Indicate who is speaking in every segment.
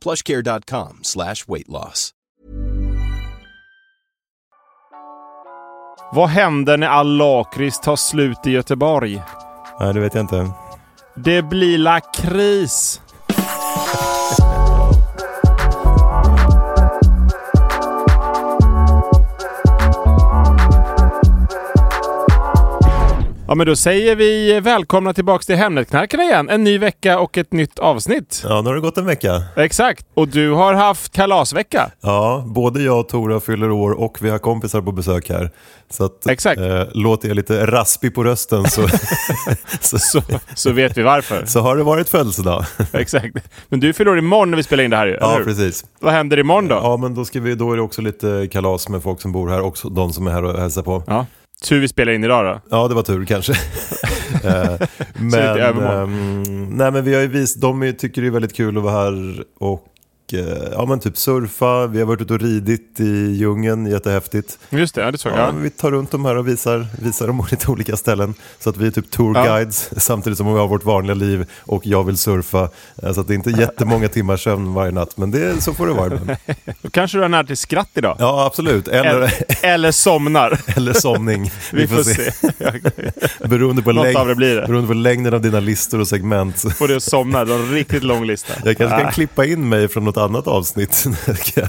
Speaker 1: plushcare.com slash weight loss.
Speaker 2: Vad händer när all lakrits tar slut i Göteborg?
Speaker 3: Nej, det vet jag inte.
Speaker 2: Det blir lakrits! Ja, men då säger vi välkomna tillbaks till Hemnetknarkarna igen. En ny vecka och ett nytt avsnitt.
Speaker 3: Ja, nu har det gått en vecka.
Speaker 2: Exakt. Och du har haft kalasvecka.
Speaker 3: Ja, både jag och Tora fyller år och vi har kompisar på besök här. Så att,
Speaker 2: Exakt.
Speaker 3: Eh, låter jag lite raspig på rösten så, så, så,
Speaker 2: Så vet vi varför.
Speaker 3: har det varit födelsedag.
Speaker 2: Exakt. Men du fyller år imorgon när vi spelar in det här ju, eller
Speaker 3: ja,
Speaker 2: hur?
Speaker 3: precis.
Speaker 2: Vad händer imorgon då?
Speaker 3: Ja, men då, ska vi, då är det också lite kalas med folk som bor här, också de som är här och hälsar på.
Speaker 2: Ja. Tur vi spelar in idag då.
Speaker 3: Ja, det var tur kanske. Eh,
Speaker 2: Så
Speaker 3: men,
Speaker 2: lite övermål.
Speaker 3: ehm, nej, men vi har ju vis, de är- tycker det är väldigt kul att vara här och eh, ja, men typ surfa. Vi har varit ute och ridit i djungen, jättehäftigt.
Speaker 2: Just det, ja, det såg
Speaker 3: Ja,
Speaker 2: jag.
Speaker 3: men vi tar runt dem här och visar, visar dem på lite olika ställen. Så att vi är typ tourguides samtidigt som vi har vårt vanliga liv och jag vill surfa. Eh, Så att det är inte jättemånga timmars sömn varje natt, men det, så får det vara. ibland.
Speaker 2: Då kanske du är nära till skratt idag.
Speaker 3: Ja, absolut. Eller,
Speaker 2: Eller, eller somnar.
Speaker 3: eller somning.
Speaker 2: Vi, får se.
Speaker 3: Beroende på,
Speaker 2: Något
Speaker 3: längd,
Speaker 2: av det blir det.
Speaker 3: beroende på längden av dina listor och segment.
Speaker 2: Får du somna. Det var en riktigt lång lista.
Speaker 3: Jag kanske
Speaker 2: Ah.
Speaker 3: kan klippa in mig från något annat avsnitt. kan, jag,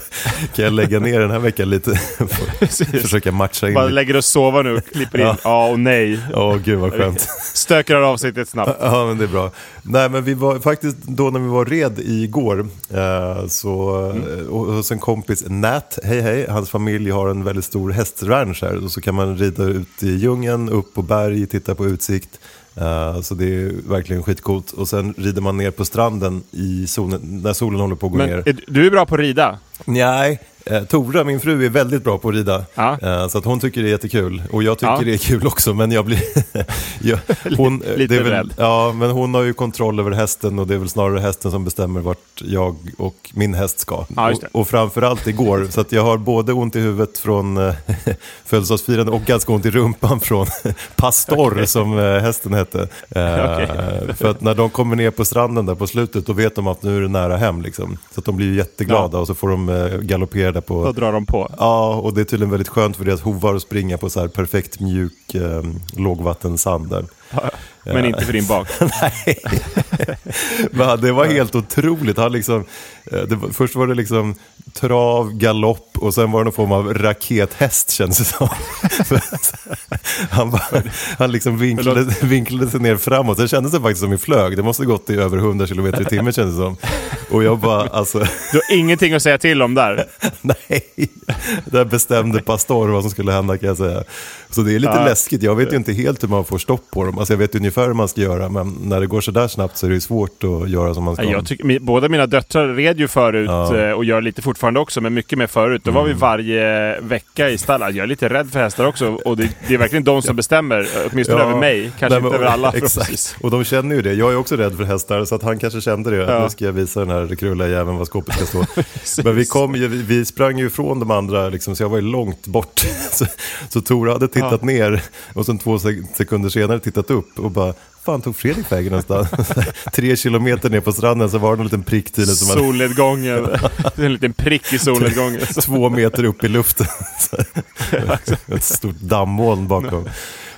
Speaker 3: kan jag lägga ner den här veckan lite?
Speaker 2: Precis.
Speaker 3: Försöka matcha in.
Speaker 2: Bara lägger och sova nu och klipper in. Ja,
Speaker 3: Ja.
Speaker 2: och nej.
Speaker 3: Åh, gud vad skönt.
Speaker 2: Stökar av avsnittet snabbt.
Speaker 3: Ja, men det är bra. Nej, men vi var faktiskt då när vi var red igår eh, så, eh, och, hos en kompis, Nat, hej hej, hans familj har en väldigt stor hästranch här och så kan man rida ut i djungeln, upp på berg, titta på utsikt. Eh, så det är verkligen skitcoolt. Och sen rider man ner på stranden i solen, när solen håller på att gå
Speaker 2: Men
Speaker 3: ner.
Speaker 2: är, du är bra på att rida.
Speaker 3: Nej, eh, Tora, min fru, är väldigt bra på att rida.
Speaker 2: Ja.
Speaker 3: Eh, Så att hon tycker det är jättekul. Och jag tycker
Speaker 2: Ja.
Speaker 3: det är kul också, men jag blir... jag, hon, eh,
Speaker 2: lite
Speaker 3: det är väl,
Speaker 2: rädd.
Speaker 3: Ja, men hon har ju kontroll över hästen och det är väl snarare hästen som bestämmer vart jag och min häst ska.
Speaker 2: Ja, just det.
Speaker 3: och, och framförallt igår, så att jag har både ont i huvudet från eh, födelsedagsfirande och ganska ont i rumpan från Pastor, som eh, hästen hette. Eh,
Speaker 2: Okej.
Speaker 3: För att när de kommer ner på stranden där på slutet, då vet de att nu är det nära hem. Liksom. Så att de blir ju jätteglada och så får de eh, galoppera där på...
Speaker 2: Då drar de på.
Speaker 3: Ja, och det är tydligen väldigt skönt för deras hovar att springa på så här perfekt mjuk eh, lågvattensand där.
Speaker 2: Men inte för din bak.
Speaker 3: Nej. Men det var helt otroligt. Han liksom, eh, det var, först var det liksom trav, galopp och sen var det någon form av rakethäst känns det som. han bara, han liksom vinklade, vinklade sig ner framåt. Sen kändes det faktiskt som vi flög. Det måste gått i över 100 kilometer i timmen kändes det som. Och jag bara, alltså,
Speaker 2: Du har ingenting att säga till om där.
Speaker 3: nej. Där bestämde Pastor vad som skulle hända kan jag säga. Så det är lite
Speaker 2: Ja.
Speaker 3: läskigt. Jag vet ju inte helt hur man får stopp på dem. Alltså jag vet ungefär hur man ska göra, men när det går så där snabbt så är det ju svårt att göra som man ska.
Speaker 2: Nej, Jag tycker, mi- båda mina döttrar red ju förut eh, och gör lite fortfarande också, men mycket mer förut. Då var
Speaker 3: Mm.
Speaker 2: vi varje vecka i stallet. Jag är lite rädd för hästar också och det, det är verkligen de som bestämmer. Åtminstone över mig, kanske
Speaker 3: Nej, men-
Speaker 2: inte över alla.
Speaker 3: Exakt. Och de känner ju det. Jag är också rädd för hästar, så att han kanske kände det.
Speaker 2: Ja.
Speaker 3: Nu ska jag visa den här krulla jäveln vad skåpet ska stå. Men vi, kom ju, vi- vi sprang ju ifrån de andra, liksom, så jag var ju långt bort. Så, så Tora hade tittat ner och sen två sek- sekunder senare tittat upp och bara, fan tog Fredrik vägen någonstans? Tre kilometer ner på stranden så var det en liten pricktile som hade
Speaker 2: Solnedgången. Det är en liten prick i solnedgången.
Speaker 3: Typ. två meter upp i luften. Så- Ett stort dammoln bakom.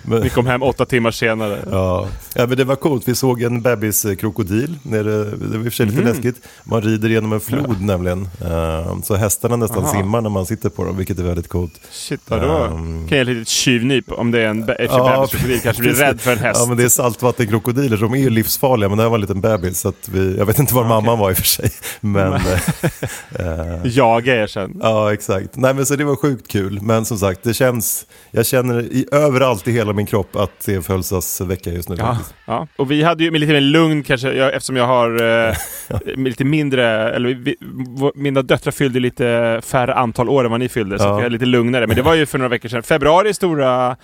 Speaker 3: Men-
Speaker 2: Vi kom hem åtta timmar senare.
Speaker 3: Ja. ja, men det var coolt. Vi såg en bebiskrokodil. Nere, det var i och för sig
Speaker 2: Mhm.
Speaker 3: lite läskigt. Man rider genom en flod nämligen. Ehm, så hästarna nästan
Speaker 2: Aha.
Speaker 3: simmar när man sitter på dem, vilket är väldigt coolt.
Speaker 2: Shit, ja, då
Speaker 3: Ehm.
Speaker 2: kan jag ett litet tjuvnyp om det är en be- ett bebiskrokodil. Kanske blir
Speaker 3: precis.
Speaker 2: rädd för en häst.
Speaker 3: Ja, men det är saltvattenkrokodiler, de är ju livsfarliga, men det här var en liten bebis. Så att vi, jag vet inte var mamman var i och för sig. Men, eh,
Speaker 2: Jaga er sen.
Speaker 3: Ja, exakt. Nej, men så det var sjukt kul. Men som sagt, det känns... Jag känner i, överallt i hela min kropp att det är födelsedags vecka just nu.
Speaker 2: Ja,
Speaker 3: faktiskt.
Speaker 2: ja. Och vi hade ju med lite mer lugn kanske, jag, eftersom jag har eh, med lite mindre, eller vi, vår- mina döttrar fyllde lite färre antal år än vad ni fyllde, så
Speaker 3: Ja.
Speaker 2: jag är lite lugnare. Men det var ju för några veckor sedan. Februari är stora
Speaker 3: Ja.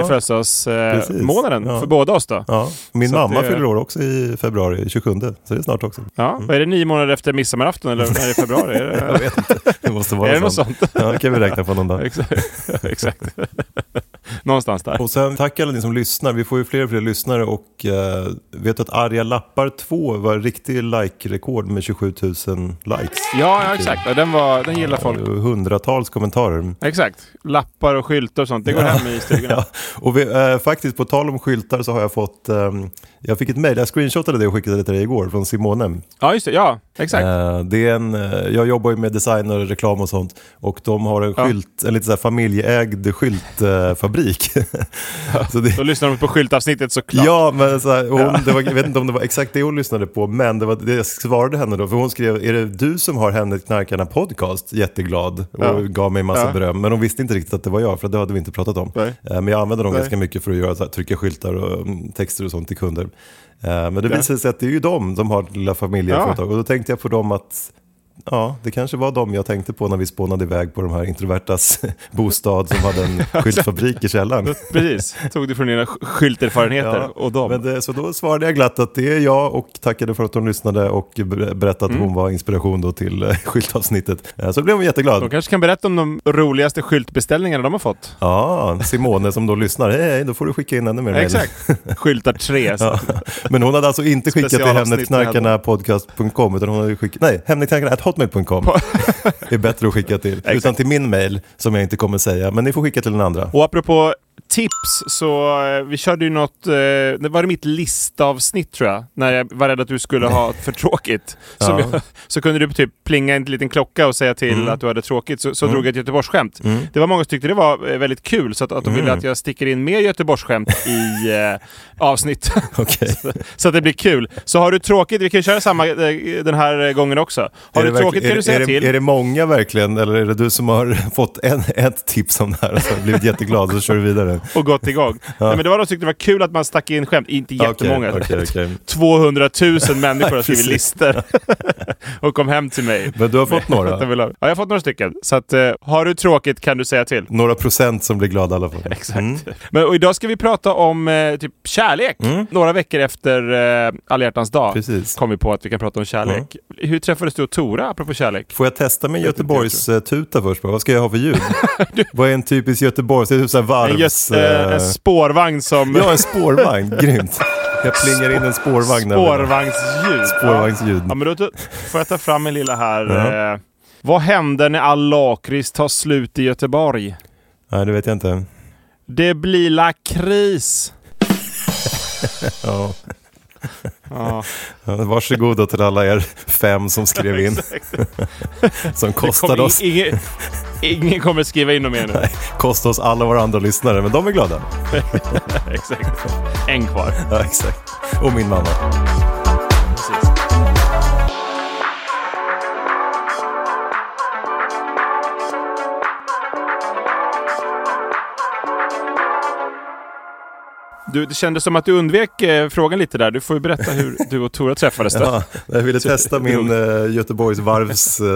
Speaker 2: ja. födelsedagsmånaden eh,
Speaker 3: Precis.
Speaker 2: månaden
Speaker 3: Ja.
Speaker 2: för båda oss då. Ja.
Speaker 3: Ja. Min
Speaker 2: Så att
Speaker 3: mamma
Speaker 2: det-
Speaker 3: fyller år också i februari, 27, så det är snart också.
Speaker 2: Vad är det, nio månader efter midsommarafton eller när är det februari? Är
Speaker 3: Jag
Speaker 2: det,
Speaker 3: vet inte, det måste vara
Speaker 2: är det något sånt?
Speaker 3: Ja, det kan vi räkna på någon dag.
Speaker 2: Exakt. Exakt. Någonstans där.
Speaker 3: Och sen tack alla ni som lyssnar. Vi får ju fler och fler lyssnare och eh, vet du att Arga lappar 2 var riktig like-rekord med 27 000 likes.
Speaker 2: Ja, ja exakt. Ja, den, var, den gillar folk.
Speaker 3: Och Hundratals kommentarer.
Speaker 2: Exakt. Lappar och skyltar och sånt. Det går hem i stugorna.
Speaker 3: Ja, och vi, eh, faktiskt på tal om skyltar så har jag fått, ehm, jag fick ett mejl, jag screenshotade det och skickade det till dig igår från Simone.
Speaker 2: Ja, just det. Ja, exakt.
Speaker 3: Eh, det är en, eh, jag jobbar ju med design och reklam och sånt och de har en
Speaker 2: Ja.
Speaker 3: skylt, en lite så här familjeägd skyltfabrik. så det,
Speaker 2: Då lyssnar de på skyltavsnittet såklart.
Speaker 3: Ja, men så här, hon, det var, jag vet inte om det var exakt det hon lyssnade på, men det var det jag svarade henne då, för hon skrev, är det du som har Henrik Knarkarna podcast? Jätteglad och
Speaker 2: Ja.
Speaker 3: gav mig en massa
Speaker 2: Ja.
Speaker 3: beröm, men hon visste inte riktigt att det var jag, för det hade vi inte pratat om.
Speaker 2: Nej.
Speaker 3: Eh, Men jag använder dem
Speaker 2: Nej.
Speaker 3: ganska mycket för att göra, så här, trycka skyltar och mm, texter och sånt till kunder. Eh, Men det visade sig att det är ju de som har lilla familjeföretag, och då tänkte jag på dem att Ja, det kanske var de jag tänkte på när vi spånade iväg på de här introvertas bostad som hade en skyltfabrik i källaren.
Speaker 2: Precis. Tog du från dina sk- skylterfarenheter
Speaker 3: Ja,
Speaker 2: och dem.
Speaker 3: Men det, så då svarade jag glatt att det är jag och tackade för att hon lyssnade och ber- berättade att
Speaker 2: Mm.
Speaker 3: hon var inspiration då till eh, skyltavsnittet. Eh, Så blev hon jätteglad.
Speaker 2: De kanske kan berätta om de roligaste skyltbeställningarna de har fått.
Speaker 3: Ja, Simone som då lyssnar, hej, hej, då får du skicka in ännu mer mejl.
Speaker 2: Exakt. Skyltar 3.
Speaker 3: Ja. Men hon hade alltså inte skickat till
Speaker 2: Specialavsnitt med
Speaker 3: hemnetknarkarnapodcast.com utan hon hade skickat, nej, hemnetknarkarna.hotmail.com är bättre att skicka till. Utan till min mejl som jag inte kommer säga, men ni får skicka till den andra.
Speaker 2: Och apropå tips så eh, vi körde ju något, eh, det var det mitt listavsnitt tror jag, när jag var rädd att du skulle ha för tråkigt. Som
Speaker 3: Ja. Mm.
Speaker 2: jag, så kunde du typ plinga en liten klocka och säga till att du hade tråkigt, så, så drog jag ett Göteborgsskämt. Det var många som tyckte det var eh, väldigt kul, så att, att de
Speaker 3: Mm.
Speaker 2: ville att jag sticker in mer Göteborgsskämt i eh, avsnitten.
Speaker 3: Okej.
Speaker 2: så att det blir kul. Så har du tråkigt, vi kan ju köra samma eh, den här eh, gången också. Har
Speaker 3: Är
Speaker 2: du
Speaker 3: det
Speaker 2: tråkigt
Speaker 3: verkligen-
Speaker 2: kan du säga
Speaker 3: är,
Speaker 2: till.
Speaker 3: Är det, är det många verkligen, eller är det du som har fått en, ett tips om det här och så har jag blivit jätteglad och så kör du vidare?
Speaker 2: och gått igång. Nej, men det var de som tyckte det var kul att man stack in skämt. Inte jättemånga.
Speaker 3: Okej, okej, okej.
Speaker 2: 200 000 människor har skrivit
Speaker 3: Precis.
Speaker 2: listor och kom hem till mig.
Speaker 3: Men du har fått
Speaker 2: Att de
Speaker 3: några?
Speaker 2: vill ha- Ja, jag har fått några stycken. Så att, eh, har du tråkigt kan du säga till.
Speaker 3: Några procent som blir glada i alla fall. Mm.
Speaker 2: Exakt. Men, och idag ska vi prata om eh, typ kärlek. Några veckor efter eh, alla hjärtans dag
Speaker 3: Mm. Precis. Mm.
Speaker 2: kom vi på att vi kan prata om kärlek. Hur träffades du och Tora apropå kärlek?
Speaker 3: Får jag testa min
Speaker 2: inte,
Speaker 3: Göteborgs-tuta först? bara? Vad ska jag ha för ljud? Vad är en typisk Göteborgs... Det är typ såhär
Speaker 2: En,
Speaker 3: varvs...
Speaker 2: gös, eh, en
Speaker 3: eh,
Speaker 2: spårvagn som...
Speaker 3: Ja, en spårvagn. Grymt. Jag plingar in en spårvagn. där.
Speaker 2: spårvagnsljud.
Speaker 3: Spårvagnsljud.
Speaker 2: Ja, men då t- får jag ta fram min lilla här. Eh, vad händer när all lakrits tar slut i Göteborg?
Speaker 3: Nej, det vet jag inte.
Speaker 2: Det blir lakrits.
Speaker 3: Ja.
Speaker 2: Ja,
Speaker 3: Ja, Varsågod då till alla er fem som skrev in. Som
Speaker 2: kom,
Speaker 3: kostade
Speaker 2: i-
Speaker 3: oss,
Speaker 2: ingen, ingen kommer skriva in dem mer nu.
Speaker 3: kostade oss alla våra andra lyssnare, men de är glada.
Speaker 2: Exakt. En kvar.
Speaker 3: Ja, exakt. Och min mamma.
Speaker 2: Precis. Du, det kändes som att du undvek eh, frågan lite där. Du får ju berätta hur du och Tora träffades. Då.
Speaker 3: Ja, jag ville testa min uh, Göteborgs varvs uh,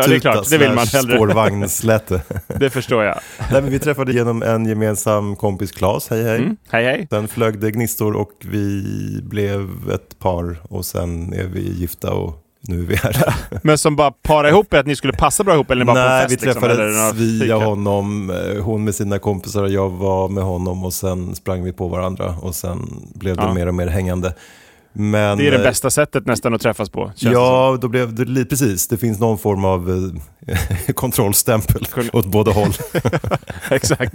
Speaker 2: det är klart. Det vill man hellre.
Speaker 3: spårvagnsläte.
Speaker 2: Det förstår jag.
Speaker 3: Nej, men vi träffade genom en gemensam kompis, Claes, hej hej.
Speaker 2: Mm. Hej hej.
Speaker 3: Sen flög det gnistor och vi blev ett par och sen är vi gifta och nu är vi här.
Speaker 2: Men som bara para ihop er, att ni skulle passa bra ihop eller bara på en
Speaker 3: Nej,
Speaker 2: fest?
Speaker 3: vi
Speaker 2: liksom, eller
Speaker 3: träffades
Speaker 2: några
Speaker 3: via
Speaker 2: fika?
Speaker 3: honom, eh, hon med sina kompisar och jag var med honom och sen sprang vi på varandra och sen blev det
Speaker 2: Ja.
Speaker 3: mer och mer hängande. Men,
Speaker 2: Det är det
Speaker 3: eh,
Speaker 2: bästa sättet nästan att träffas på. känns det
Speaker 3: Ja, då blev det, li- precis. Det finns någon form av eh, kontrollstämpel
Speaker 2: Kon-
Speaker 3: åt båda håll.
Speaker 2: som. Exakt.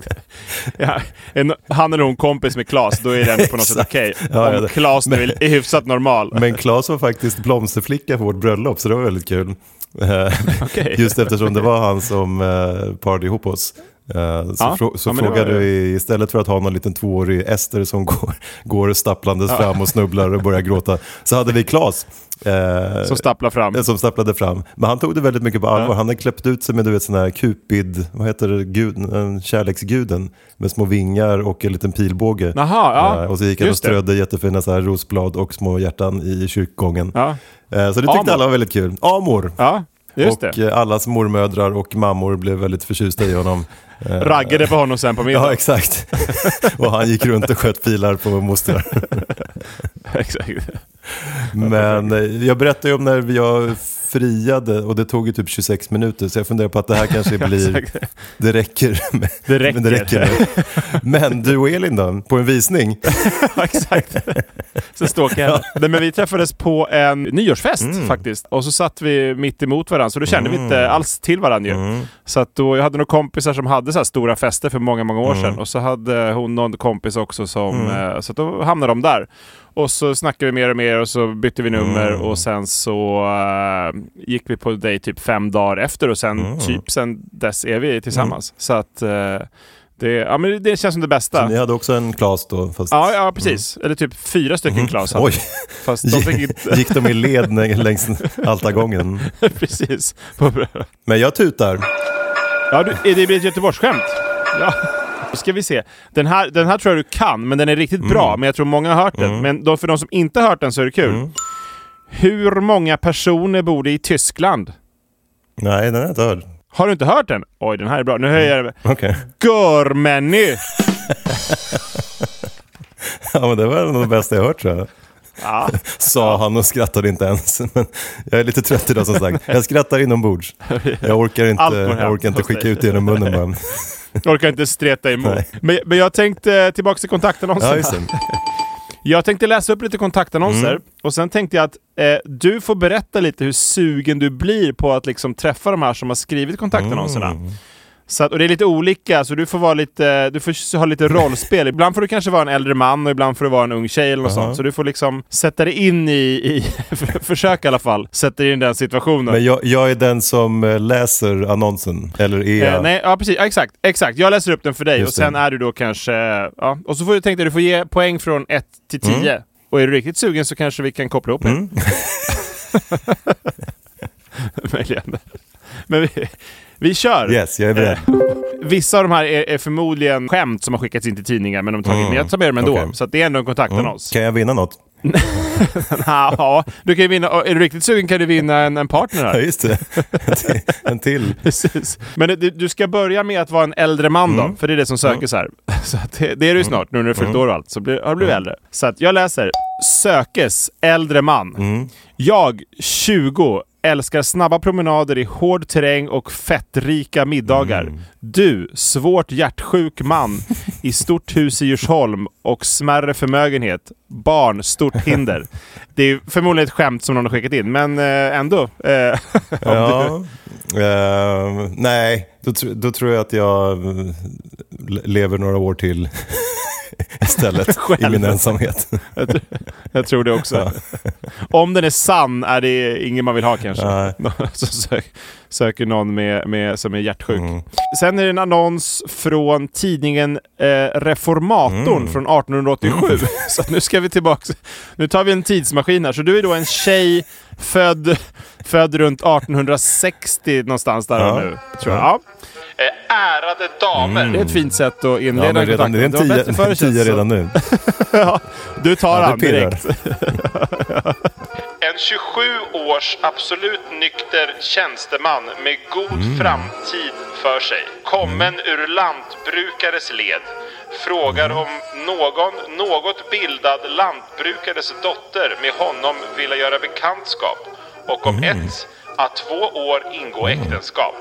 Speaker 2: Ja, en, han eller hon kompis med Klas, då är den på något sätt
Speaker 3: Exakt.
Speaker 2: okej.
Speaker 3: Ja, ja,
Speaker 2: Om
Speaker 3: det-
Speaker 2: Klas nu är, är hyfsat normal.
Speaker 3: Men Claes var faktiskt blomsterflicka på vårt bröllop, så det var väldigt kul. Eh,
Speaker 2: Okej.
Speaker 3: Just eftersom det var han som eh, parade ihop oss. Eh, så
Speaker 2: Ja,
Speaker 3: frå- så
Speaker 2: ja, men det
Speaker 3: frågade
Speaker 2: var-
Speaker 3: vi, istället för att ha någon liten tvåårig Ester som går, går stapplandes fram och snubblar och börjar gråta, så hade vi Claes. eh,
Speaker 2: Som stapplar fram.
Speaker 3: eh, som stapplade fram. Men han tog det väldigt mycket på allvar. Han hade kläppt ut sig med du vet sån här Cupid, vad heter det, Gud, eh, kärleksguden med små vingar och en liten pilbåge.
Speaker 2: Jaha, ja.
Speaker 3: Eh, och så gick han och
Speaker 2: Just det.
Speaker 3: strödde jättefina så här rosblad och små hjärtan i kyrkogången.
Speaker 2: Ja,
Speaker 3: Eh, Så det tyckte
Speaker 2: Amor.
Speaker 3: alla var väldigt kul. Amor!
Speaker 2: ja just
Speaker 3: och
Speaker 2: det.
Speaker 3: eh, allas mormödrar och mammor blev väldigt förtjusta i honom. Eh,
Speaker 2: Raggade på honom sen på
Speaker 3: Ja,
Speaker 2: middag.
Speaker 3: exakt. och han gick runt och sköt pilar på mostrar.
Speaker 2: Exakt.
Speaker 3: Men eh, jag berättade ju om när jag friade och det tog ju typ 26 minuter så jag funderar på att det här kanske blir,
Speaker 2: Exakt.
Speaker 3: det räcker. Med,
Speaker 2: Det räcker.
Speaker 3: Men, det räcker men du och Elin då, på en visning?
Speaker 2: Ja, exakt. Så stalkade jag henne. Nej, men vi träffades på en nyårsfest
Speaker 3: Mm.
Speaker 2: faktiskt. Och så satt vi mitt emot varandra, så då kände vi inte alls till varandra ju.
Speaker 3: Mm.
Speaker 2: Så att då, jag hade några kompisar som hade så här stora fester för många, många
Speaker 3: Mm.
Speaker 2: år sedan. Och så hade hon någon kompis också som... eh, Så att då hamnade de där. Och så snackade vi mer och mer och så bytte vi nummer
Speaker 3: Mm.
Speaker 2: och sen så eh, gick vi på dejt typ fem dagar efter och sen
Speaker 3: Mm.
Speaker 2: typ sen dess är vi tillsammans. Så att eh, det, ja, men det känns som det bästa.
Speaker 3: Så ni hade också en Klas då? Fast...
Speaker 2: Ja, ja precis. Eller typ fyra stycken Klas hade.
Speaker 3: Mm. Oj,
Speaker 2: Fast de fick inte...
Speaker 3: gick de i led när- längs altargången?
Speaker 2: precis. Vad bra.
Speaker 3: Men jag tutar.
Speaker 2: Ja, du, det blir ett Göteborgsskämt. Ja. Då ska vi se. Den här, den här tror jag du kan, men den är riktigt
Speaker 3: Mm.
Speaker 2: bra. Men jag tror många har hört den. Men då, för de som inte har hört den så är det kul. Hur många personer bor det i Tyskland?
Speaker 3: Nej, den är inte hörd.
Speaker 2: Har du inte hört den? Oj, den här är bra. Nu höjer jag den.
Speaker 3: Okej.
Speaker 2: Görmeny!
Speaker 3: Ja, men det var nog det bästa jag hört tror jag.
Speaker 2: Ja.
Speaker 3: Sa han och skrattade inte ens. Men jag är lite trött idag som sagt. Jag skrattar inombords. Jag orkar inte,
Speaker 2: Allt går hem
Speaker 3: jag orkar inte
Speaker 2: hos dig.
Speaker 3: skicka ut det genom munnen bara.
Speaker 2: Jag orkar inte streta emot.
Speaker 3: Nej.
Speaker 2: Men, men jag tänkte tillbaka till kontaktannonserna.
Speaker 3: Ja, just det.
Speaker 2: Jag tänkte läsa upp lite kontaktannonser och sen tänkte jag att eh, du får berätta lite hur sugen du blir på att liksom träffa de här som har skrivit kontaktannonserna. Så att, och det är lite olika, så du får, vara lite, du får ha lite rollspel. ibland får du kanske vara en äldre man och ibland får du vara en ung tjej eller något sånt. Så du får liksom sätta dig in i, i försök i alla fall, sätta dig in i den situationen.
Speaker 3: Men jag, jag är den som eh, läser annonsen. Eller är
Speaker 2: Eh,
Speaker 3: jag?
Speaker 2: nej, ja precis. Ja, exakt, exakt. Jag läser upp den för dig
Speaker 3: Just
Speaker 2: och sen
Speaker 3: det.
Speaker 2: är du då kanske... Ja. Och så får du tänka dig, du får ge poäng från 1 till 10.
Speaker 3: Mm.
Speaker 2: Och är du riktigt sugen så kanske vi kan koppla ihop mm. Möjligen. Men vi, vi kör!
Speaker 3: Yes, jag är beredd.
Speaker 2: Eh. Vissa av de här är, är förmodligen skämt som har skickats in till tidningar, men de har tagit Men jag tar med dem ändå.
Speaker 3: Mm. Okej. Mm.
Speaker 2: Så att det är ändå en kontaktannons.
Speaker 3: Kan jag vinna något?
Speaker 2: Ja, ja, du kan ju vinna, är du riktigt sugen kan du vinna en, en partner
Speaker 3: Ja,
Speaker 2: här.
Speaker 3: just det. En till- en till.
Speaker 2: Precis. Men du, du ska börja med att vara en äldre man då, för det är det som sökes här. Så att det, det är du snart, nu när du fyllt år och allt, så blir, har du blivit äldre. Så att jag läser. Sökes äldre man. Jag, 20, älskar snabba promenader i hård terräng och fettrika middagar. Du, svårt hjärtsjuk man i stort hus i Djursholm och smärre förmögenhet. Barn, stort hinder. Det är förmodligen ett skämt som någon har skickat in, men eh, ändå. Eh, om du-
Speaker 3: Ja. Ehm, nej, då, tr- då tror jag att jag eh, le- lever några år till istället i
Speaker 2: Själv.
Speaker 3: min ensamhet.
Speaker 2: Jag, tr- jag tror det också. Om den är sann är det ingen man vill ha kanske.
Speaker 3: Nej.
Speaker 2: Någon som sök, söker någon med, med, som är hjärtsjuk.
Speaker 3: Mm.
Speaker 2: Sen är det en annons från tidningen eh, Reformatorn
Speaker 3: Mm.
Speaker 2: från 1887. Så att nu ska vi tillbaka. Nu tar vi en tidsmaskin här. Så du är då en tjej född, född runt 1860 någonstans där
Speaker 3: Ja.
Speaker 2: nu. Tror jag. Ja. Eh, Ärade damer. Det är ett fint sätt att inleda
Speaker 3: Ja, men
Speaker 2: en kontakt.
Speaker 3: redan, det är en
Speaker 2: Det var
Speaker 3: tia,
Speaker 2: bättre förr,
Speaker 3: en
Speaker 2: känns
Speaker 3: tia
Speaker 2: det som.
Speaker 3: redan nu.
Speaker 2: Du tar
Speaker 3: det
Speaker 2: han
Speaker 3: pirrar.
Speaker 2: direkt. en 27 års absolut nykter tjänsteman med god framtid för sig. Kommen ur lantbrukares led. Frågar om någon något bildad lantbrukares dotter med honom vilja göra bekantskap. Och om ett, att två år ingå äktenskap.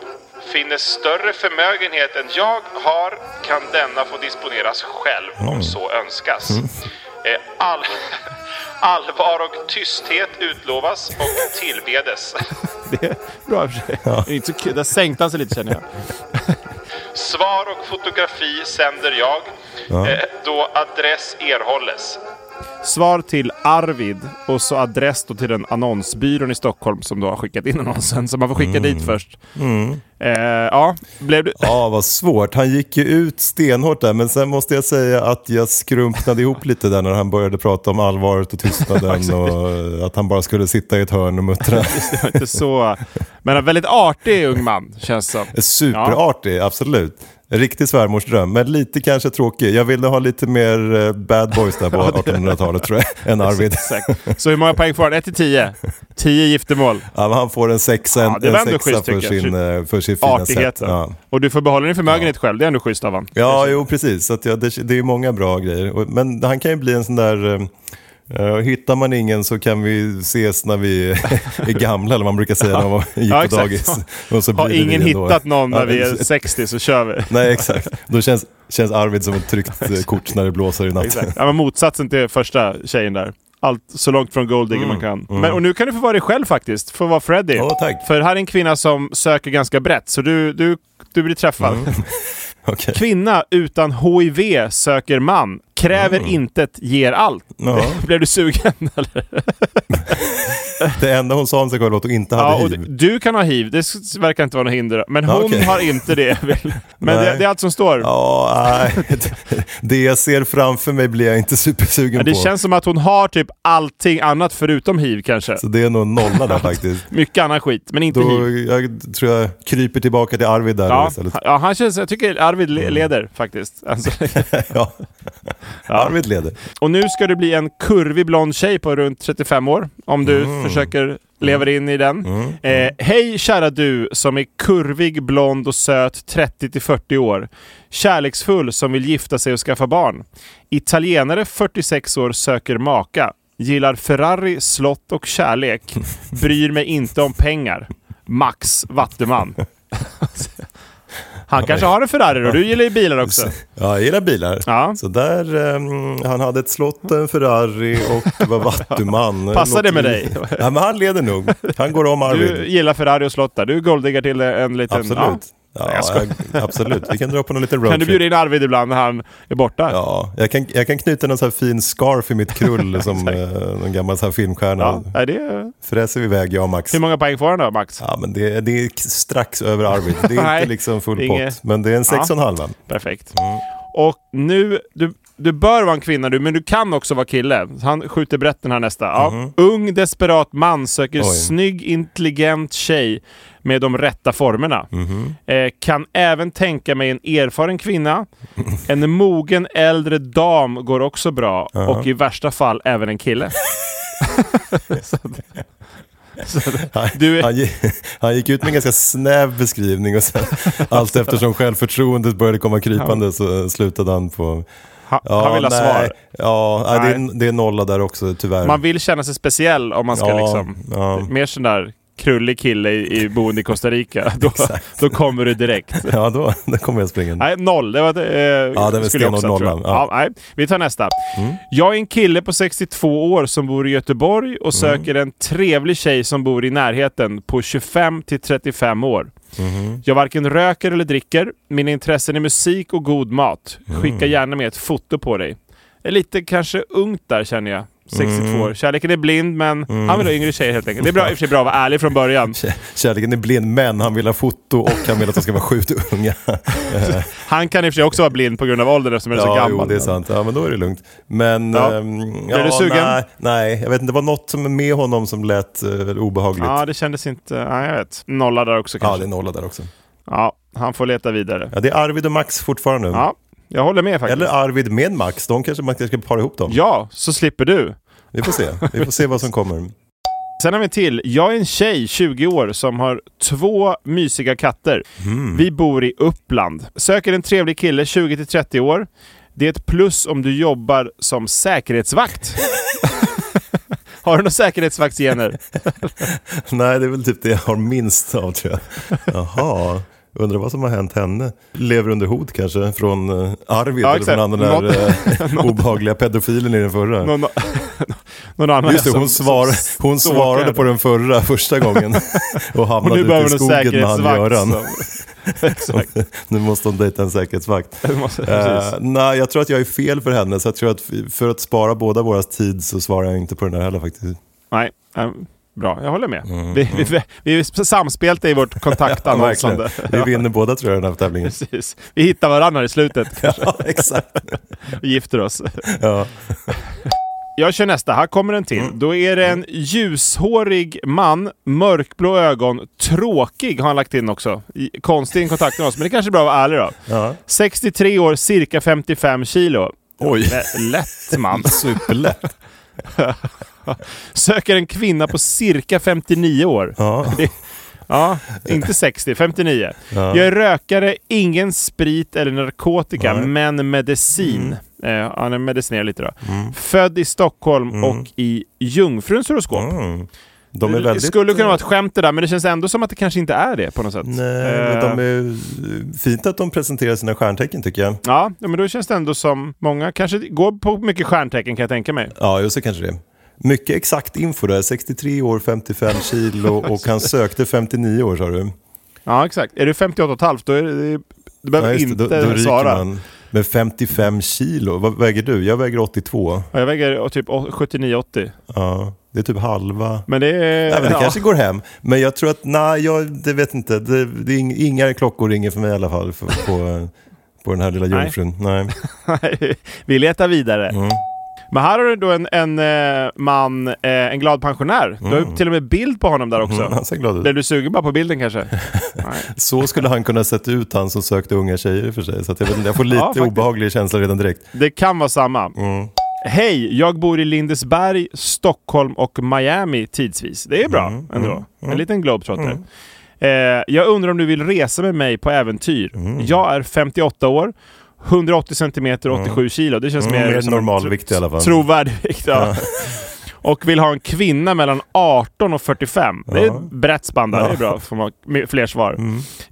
Speaker 2: Finner större förmögenhet än jag har kan denna få disponeras själv om så önskas. Eh, All, Allvar och tysthet utlovas och tillbedes. Det är bra i och för sig. Det är inte så kul. Där sänkte han sig lite känner jag. Svar och fotografi sänder jag eh, då adress erhålles. Svar till Arvid och så adress då till den annonsbyrån i Stockholm som då har skickat in annonsen. Så man får skicka dit först. Eh, ja, blev du...
Speaker 3: Ja, vad svårt. Han gick ju ut stenhårt där, men sen måste jag säga att jag skrumpnade ihop lite där när han började prata om allvaret och tystnaden och eh, att han bara skulle sitta i ett hörn och muttra.
Speaker 2: inte så... Men en väldigt artig ung man, känns som.
Speaker 3: Superartig, absolut. En riktig svärmorsdröm, men lite kanske tråkig. Jag ville ha lite mer eh, bad boys där på 1800-talet tror jag, än Arvid.
Speaker 2: Exakt. Så hur många poäng får han? 1 till 10? 10 giftermål.
Speaker 3: Ja, men han får en sexa, en,
Speaker 2: Ja, det var
Speaker 3: en
Speaker 2: ändå
Speaker 3: sexa
Speaker 2: schysst,
Speaker 3: för,
Speaker 2: tycker jag.
Speaker 3: sin, eh, för sin fina sätt.
Speaker 2: Artigheten.
Speaker 3: Ja.
Speaker 2: Och du får behålla din förmögenhet själv. Det är ändå schysst av honom.
Speaker 3: Ja, jo precis. Så att ja, det, det är många bra grejer. Och- Men han kan ju bli en sån där... eh, eh, hittar man ingen så kan vi ses när vi är gamla, eller vad man brukar säga när man gick
Speaker 2: Ja,
Speaker 3: på
Speaker 2: exakt.
Speaker 3: dagis. Och så
Speaker 2: Har
Speaker 3: blir det
Speaker 2: ingen
Speaker 3: vi ändå.
Speaker 2: hittat någon när
Speaker 3: Ja,
Speaker 2: vi är
Speaker 3: precis.
Speaker 2: 60 så kör vi.
Speaker 3: Nej, exakt. Då känns, känns Arvid som ett tryckt eh, kort när det blåser i natt.
Speaker 2: Exakt. Ja, men motsatsen till första tjejen där. Allt så långt från Golddigger man kan. Men, och nu kan du få vara dig själv faktiskt. Få vara Freddy.
Speaker 3: Mm. Ja, tack.
Speaker 2: För här är en kvinna som söker ganska brett, så du, du, du blir träffad.
Speaker 3: Mm. Okej.
Speaker 2: Kvinna utan HIV söker man. Kräver intet, ger allt.
Speaker 3: Mm. Ja,
Speaker 2: Blev du sugen? Eller?
Speaker 3: det enda hon sa om sig själv var att hon inte
Speaker 2: Ja,
Speaker 3: hade
Speaker 2: och
Speaker 3: hiv.
Speaker 2: du- du kan ha hiv, det s- verkar inte vara något hinder. Men hon
Speaker 3: okej.
Speaker 2: har inte det. väl? Men det,
Speaker 3: Nej.
Speaker 2: det är allt som står.
Speaker 3: Ja, nej. Det jag ser framför mig blir jag inte supersugen
Speaker 2: Men det
Speaker 3: på.
Speaker 2: känns som att hon har typ allting annat förutom hiv kanske.
Speaker 3: Så det är nog en nolla där faktiskt.
Speaker 2: Mycket annan skit, men inte hiv.
Speaker 3: Då jag tror jag kryper tillbaka till Arvid där
Speaker 2: Ja,
Speaker 3: istället. Mm.
Speaker 2: ja, han känns, jag tycker Arvid le- leder faktiskt. Alltså,
Speaker 3: Ja. Arvid leder.
Speaker 2: och nu ska du bli en kurvig blond tjej på runt 35 år, om du försöker leva dig in i den. Eh, Hej kära du som är kurvig, blond och söt 30-40 år. Kärleksfull som vill gifta sig och skaffa barn. Italienare 46 år söker maka. Gillar Ferrari, slott och kärlek. Bryr mig inte om pengar. Max Vatterman. Han kanske har en Ferrari och du gillar ju bilar också.
Speaker 3: Ja, jag gillar bilar.
Speaker 2: Ja.
Speaker 3: Så där, ehm, han hade ett slott, en Ferrari och var vattuman.
Speaker 2: Passar det med
Speaker 3: Låter-
Speaker 2: dig?
Speaker 3: Ja, men han leder nog. Han går om Arvid.
Speaker 2: Du gillar Ferrari och slott där. Du golddiggar till en liten...
Speaker 3: Absolut. Ja,
Speaker 2: Nej, jag skojar.
Speaker 3: jag- absolut. Vi kan dra på någon liten
Speaker 2: Ja. Kan du
Speaker 3: roadtrip.
Speaker 2: bjuda in Arvid ibland när han är borta?
Speaker 3: Ja, jag kan, jag kan knyta någon så här fin scarf i mitt krull som eh, någon gammal så här filmstjärna.
Speaker 2: Ja, Är det...
Speaker 3: Fräser vi iväg jag och Max.
Speaker 2: Hur många poäng får han då, Max?
Speaker 3: Ja, men det, det är k- strax över Arvid. Det är
Speaker 2: Nej,
Speaker 3: inte liksom full
Speaker 2: inget.
Speaker 3: pott. Men det är en sex och en halva.
Speaker 2: Perfekt.
Speaker 3: Mm.
Speaker 2: Och nu... Du, du bör vara en kvinna du, men du kan också vara kille. Han skjuter brett den här nästa. Ja. Ung desperat man söker
Speaker 3: Mhm. Oj.
Speaker 2: snygg, intelligent tjej med de rätta formerna.
Speaker 3: Mhm.
Speaker 2: Eh, kan även tänka mig en erfaren kvinna. En mogen äldre dam går också bra. Och i värsta fall även en kille.
Speaker 3: Han,
Speaker 2: Du är-
Speaker 3: han, gi- han gick ut med en ganska snäv beskrivning och sen allt eftersom självförtroendet började komma krypande så eh, slutade han på...
Speaker 2: Ha, han vill ha
Speaker 3: nej.
Speaker 2: svar.
Speaker 3: Ja, nej, Det,
Speaker 2: Nej.
Speaker 3: är, det är nolla där också tyvärr.
Speaker 2: Man vill känna sig speciell om man ska
Speaker 3: Ja,
Speaker 2: liksom...
Speaker 3: ja.
Speaker 2: Mer sån där krullig kille i, i boende i Costa Rica. Då,
Speaker 3: Exakt.
Speaker 2: då kommer du direkt.
Speaker 3: Ja, då, då kommer jag springa.
Speaker 2: Nej, noll. Det var, eh, skulle
Speaker 3: var
Speaker 2: jag
Speaker 3: stenhård
Speaker 2: också ha, tror jag.
Speaker 3: nollan,
Speaker 2: Ja.
Speaker 3: ja. Mm.
Speaker 2: nej. Vi tar nästa. Jag är en kille på 62 år som bor i Göteborg
Speaker 3: Mm.
Speaker 2: och söker en trevlig tjej som bor i närheten på 25 till 35 år.
Speaker 3: Mm-hmm.
Speaker 2: Jag varken röker eller dricker. Mina intressen är musik och god mat.
Speaker 3: Mm.
Speaker 2: Skicka gärna med ett foto på dig. Det är lite kanske ungt där känner jag. 62
Speaker 3: Mm.
Speaker 2: år. Kärleken är blind men han vill ha yngre tjejer helt enkelt. Det är bra, i och för sig bra att vara ärlig från början.
Speaker 3: Kär- Kärleken är blind, men han vill ha foto och han vill att de ska vara sjukt unga.
Speaker 2: Han kan i och för sig också vara blind på grund av åldern eftersom han är så
Speaker 3: Ja,
Speaker 2: gammal.
Speaker 3: jo, det är sant. Ja, men då är det lugnt. Men...
Speaker 2: Ja.
Speaker 3: ehm,
Speaker 2: Är du sugen?
Speaker 3: Nej, nej, jag vet inte. Det var något som med honom som lät eh, väl obehagligt.
Speaker 2: Ja,
Speaker 3: Ja,
Speaker 2: det kändes inte... Ja, jag vet. Nolla där också
Speaker 3: det
Speaker 2: kanske.
Speaker 3: är nolla där också.
Speaker 2: Ja, han får leta vidare.
Speaker 3: Ja, det är Arvid och Max fortfarande.
Speaker 2: Ja, jag håller med faktiskt.
Speaker 3: Eller Arvid med Max. De kanske man kanske ska para ihop dem.
Speaker 2: Ja, så slipper du.
Speaker 3: Vi får se. Vi får se vad som kommer.
Speaker 2: Sen har vi en till. Jag är en tjej, 20 år, som har två mysiga katter.
Speaker 3: Mm.
Speaker 2: Vi bor i Uppland. Söker en trevlig kille, 20-30 år. Det är ett plus om du jobbar som säkerhetsvakt. har du några säkerhetsvaktsgener?
Speaker 3: Nej, det är väl typ det jag har minst av tror jag. Jaha. Undrar vad som har hänt henne. Lever under hot kanske från eh, Arvid
Speaker 2: Ja,
Speaker 3: eller
Speaker 2: exakt.
Speaker 3: från den där eh, obehagliga pedofilen i den förra.
Speaker 2: Någon, någon annan
Speaker 3: Just det, hon,
Speaker 2: som-
Speaker 3: svar,
Speaker 2: som
Speaker 3: hon
Speaker 2: stalkar
Speaker 3: svarade
Speaker 2: henne.
Speaker 3: på den förra, första gången och
Speaker 2: Och
Speaker 3: hamnade
Speaker 2: nu
Speaker 3: ute i
Speaker 2: behöver hon en
Speaker 3: skogen med han Göran.
Speaker 2: säkerhetsvakt. som- Exakt.
Speaker 3: nu måste hon dejta en säkerhetsvakt.
Speaker 2: Det måste-
Speaker 3: Eh,
Speaker 2: precis.
Speaker 3: nej, jag tror att jag är fel för henne, så jag tror att f- för att spara båda våras tid så svarar jag inte på den där heller faktiskt.
Speaker 2: Nej, ehm, bra. Jag håller med.
Speaker 3: Mm.
Speaker 2: vi, vi, vi är samspelta i vårt kontaktannonsande.
Speaker 3: Vi vinner båda tror jag den här tävlingen.
Speaker 2: Precis. Vi hittar varandra i slutet
Speaker 3: ja, exakt.
Speaker 2: och gifter oss.
Speaker 3: Ja. Mm.
Speaker 2: Jag kör nästa. Här kommer en till. Då är det en ljushårig man, mörkblå ögon, tråkig har han lagt in också. I- Konstig i kontakten med oss, men det kanske är bra att vara ärlig då. 63 år, cirka 55 kilo.
Speaker 3: Oj,
Speaker 2: Lä- Lätt man.
Speaker 3: superlätt.
Speaker 2: Söker en kvinna på cirka 59 år.
Speaker 3: Ja.
Speaker 2: Ja, inte 60, 59.
Speaker 3: Ja.
Speaker 2: Jag är rökare, ingen sprit eller narkotika,
Speaker 3: Nej. Mm.
Speaker 2: men medicin. Eh, han är medicinerad lite då. Född i Stockholm och i Jungfruns horoskop.
Speaker 3: Mm. De är väldigt... eh,
Speaker 2: Det skulle kunna vara ett skämt det där, men det känns ändå som att det kanske inte är det på något sätt. Eh,
Speaker 3: Nej, men de är... Fint att de presenterar sina stjärntecken tycker jag.
Speaker 2: Ja, ja, men då känns det ändå som många kanske går på mycket stjärntecken kan jag tänka mig.
Speaker 3: Ja, just så kanske det. Mycket exakt info där. 63 år, 55 kilo och han sökte 59 år sa du.
Speaker 2: Ja, exakt. Är du 58,5 då är det, du behöver
Speaker 3: Ja, just det,
Speaker 2: inte
Speaker 3: då, då ryker
Speaker 2: svara.
Speaker 3: man. Men 55 kilo, vad väger du? Jag väger 82.
Speaker 2: Ja, jag väger eh, typ 79-80.
Speaker 3: Ja, det är typ halva.
Speaker 2: Men det är...
Speaker 3: Nej, men det
Speaker 2: ja.
Speaker 3: kanske går hem. Men jag tror att, nej, jag, det vet inte. Det, det är ing- inga klockor ringer för mig i alla fall för, på, på den här lilla
Speaker 2: Nej.
Speaker 3: jungfrun. Nej.
Speaker 2: Nej, Vi letar vidare.
Speaker 3: Mm.
Speaker 2: Men här har du då en, en eh, man, eh, en glad pensionär. Du har ju till och med bild på honom där också.
Speaker 3: Mm, han ser glad
Speaker 2: Blev
Speaker 3: ut.
Speaker 2: du sugen bara på bilden kanske? Nej.
Speaker 3: Så skulle han kunna sett ut, han som sökte unga tjejer i och för sig. Så att jag, vet inte, jag får lite
Speaker 2: faktiskt.
Speaker 3: obehaglig känsla redan direkt.
Speaker 2: Det kan vara samma.
Speaker 3: Mm.
Speaker 2: Hej, jag bor i Lindesberg, Stockholm och Miami tidsvis. Det är bra
Speaker 3: Mm.
Speaker 2: ändå. En liten globetrotter. Eh, jag undrar om du vill resa med mig på äventyr.
Speaker 3: Mm.
Speaker 2: Jag är 58 år, 180 cm och 87 kilo. Det känns
Speaker 3: Mm,
Speaker 2: mer,
Speaker 3: mer
Speaker 2: som en
Speaker 3: normalvikt i alla fall.
Speaker 2: Trovärdig vikt, ja. Och vill ha en kvinna mellan 18 och 45. Det är
Speaker 3: Ja. Mm.
Speaker 2: ett brett spann där. Det är bra. Får man med fler svar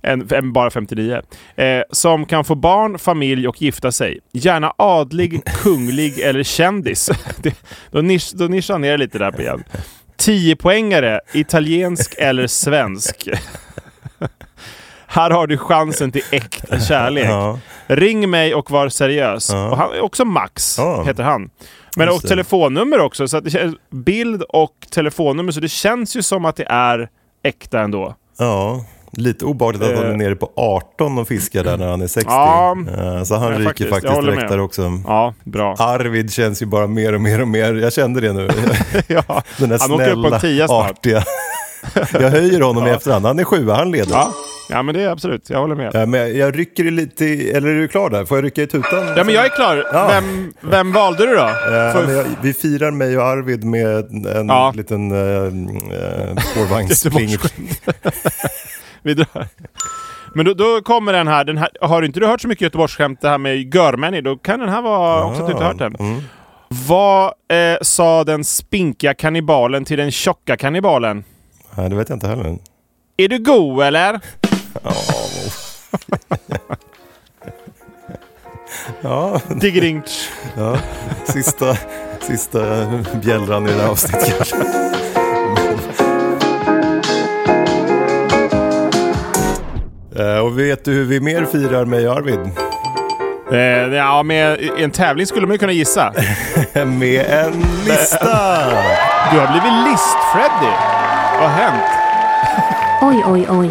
Speaker 2: än, än bara 59. Eh, som kan få barn, familj och gifta sig. Gärna adlig, kunglig eller kändis. Det, då, nisch, då nischar han ner lite där på igen. 10 poängare, italiensk eller svensk. Här har du chansen till äkta kärlek.
Speaker 3: Ja.
Speaker 2: Ring mig och var seriös. Och han är också Max,
Speaker 3: Ja.
Speaker 2: heter han. Men
Speaker 3: Just
Speaker 2: och
Speaker 3: det.
Speaker 2: telefonnummer också. Så att det känns, bild och telefonnummer, så det känns ju som att det är äkta ändå.
Speaker 3: Ja, lite obehagligt att han
Speaker 2: Eh.
Speaker 3: är nere på 18 och fiskar där när han är 60.
Speaker 2: Ja.
Speaker 3: Eh, Så han
Speaker 2: Ja,
Speaker 3: ryker
Speaker 2: faktiskt.
Speaker 3: faktiskt,
Speaker 2: Jag håller
Speaker 3: direkt
Speaker 2: med.
Speaker 3: där också.
Speaker 2: Ja, bra.
Speaker 3: Arvid känns ju bara mer och mer och mer. Jag kände det nu.
Speaker 2: Ja.
Speaker 3: Den där
Speaker 2: Han åker upp på en tia
Speaker 3: snälla,
Speaker 2: snart.
Speaker 3: artiga. Jag höjer honom i efterhand. Han är sjua, han leder.
Speaker 2: Ja. ja, men det är absolut. Jag håller med.
Speaker 3: Eh, Men jag- jag rycker i lite, i- eller är du klar där? Får jag rycka i tutan?
Speaker 2: Ja, men jag är klar. Vem, vem valde du då?
Speaker 3: Eh,
Speaker 2: För-
Speaker 3: men jag, vi firar mig och Arvid med en- en
Speaker 2: Ja.
Speaker 3: liten eh, eh, spårvagnspling.
Speaker 2: Vi drar. Men då, då kommer den här, den här. Har inte du hört så mycket Göteborgsskämt, det här med görmänniskor, då kan den här vara också att du inte hört den.
Speaker 3: mm.
Speaker 2: Vad eh, sa den spinkiga kannibalen till den tjocka kannibalen?
Speaker 3: Nej, det vet jag inte heller.
Speaker 2: Är du god eller?
Speaker 3: Ja,
Speaker 2: Diggidingt.
Speaker 3: Ja, sista, sista bjällran i det här avsnittet kanske. Eh, Och vet du hur vi mer firar mig och Arvid?
Speaker 2: Eh, ja, med i en tävling skulle man ju kunna gissa.
Speaker 3: Med en lista!
Speaker 2: Du har blivit list-Freddy. Vad har hänt?
Speaker 4: Oj, oj, oj.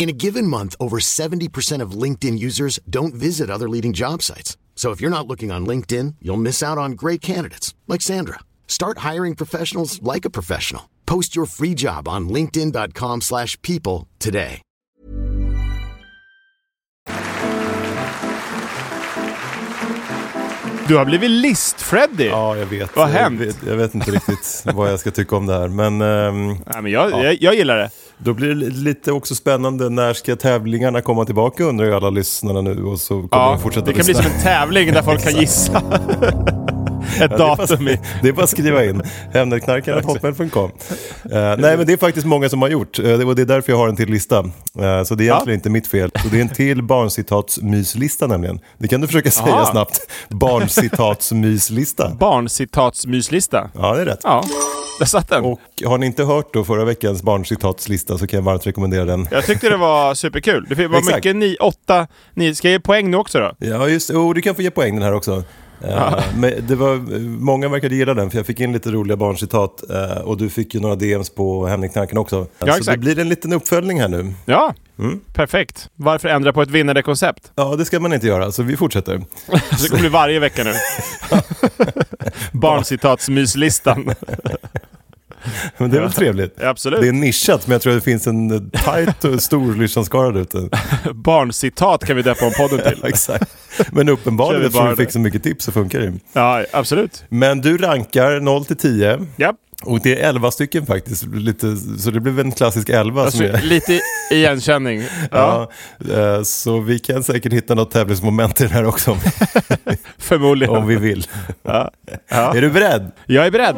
Speaker 5: In a given month, over 70% of LinkedIn users don't visit other leading job sites. So if you're not looking on LinkedIn, you'll miss out on great candidates like Sandra. Start hiring professionals like a professional. Post your free job on linkedin.com/people slash people today.
Speaker 2: Du har blivit list-Freddy!
Speaker 3: Ja, jag vet.
Speaker 2: Vad har
Speaker 3: jag,
Speaker 2: hänt?
Speaker 3: vet jag vet inte riktigt vad jag ska tycka om det här. Men ehm,
Speaker 2: Nej, men jag, jag, jag gillar det.
Speaker 3: då blir det li- lite också spännande. När ska tävlingarna komma tillbaka undrar ju alla lyssnarna nu. Och så kommer
Speaker 2: Ja,
Speaker 3: de fortsätta
Speaker 2: det kan bli som en tävling där folk kan gissa ett datum. i.
Speaker 3: Det är bara att skriva in. Hemnetknarkaren.hotmail.com. Eh, nej, men det är faktiskt många som har gjort. eh, det- och det är därför jag har en till lista. Eh, så det är egentligen inte mitt fel. Så det är en till barncitatsmyslista nämligen. Det kan du försöka säga
Speaker 2: Aha.
Speaker 3: snabbt. Barncitatsmyslista.
Speaker 2: Barncitatsmyslista.
Speaker 3: Ja, det är rätt.
Speaker 2: Ja, där satt den.
Speaker 3: Och har ni inte hört då förra veckans barncitatslista så kan jag varmt rekommendera den.
Speaker 2: Jag tyckte det var superkul. Det var
Speaker 3: Exakt.
Speaker 2: mycket ni, åtta, ni Ska jag ge poäng nu också då?
Speaker 3: Ja, just oh, du kan få ge poäng den här också. Eh, Men det var, många verkade gilla den, för jag fick in lite roliga barncitat eh, och du fick ju några DMs på Hemligknarken också. så
Speaker 2: exakt.
Speaker 3: det blir en liten uppföljning här nu.
Speaker 2: Ja, Mm.
Speaker 3: Mm.
Speaker 2: perfekt. Varför ändra på ett vinnande koncept?
Speaker 3: Ja, det ska man inte göra, så vi fortsätter.
Speaker 2: Så det kommer bli varje vecka nu. Barncitatsmyslistan.
Speaker 3: Men det är väl trevligt?
Speaker 2: Absolut.
Speaker 3: Det är nischat, men jag tror det finns en eh, tajt och stor lyssnarskara där ute.
Speaker 2: Barncitat kan vi döpa om podden till.
Speaker 3: Exakt. Men
Speaker 2: Kör
Speaker 3: uppenbarligen,
Speaker 2: vi
Speaker 3: eftersom
Speaker 2: bara
Speaker 3: vi fick
Speaker 2: det.
Speaker 3: så mycket tips så funkar det ju.
Speaker 2: Ja, absolut.
Speaker 3: Men du rankar 0 till 10.
Speaker 2: Ja.
Speaker 3: Och det är 11 stycken faktiskt, lite, så det blev en klassisk 11.
Speaker 2: Alltså,
Speaker 3: som är...
Speaker 2: lite igenkänning. Ja,
Speaker 3: Ja. eh, Så vi kan säkert hitta något tävlingsmoment i den här också, om-
Speaker 2: förmodligen.
Speaker 3: om vi vill. Är du beredd?
Speaker 2: Jag är beredd.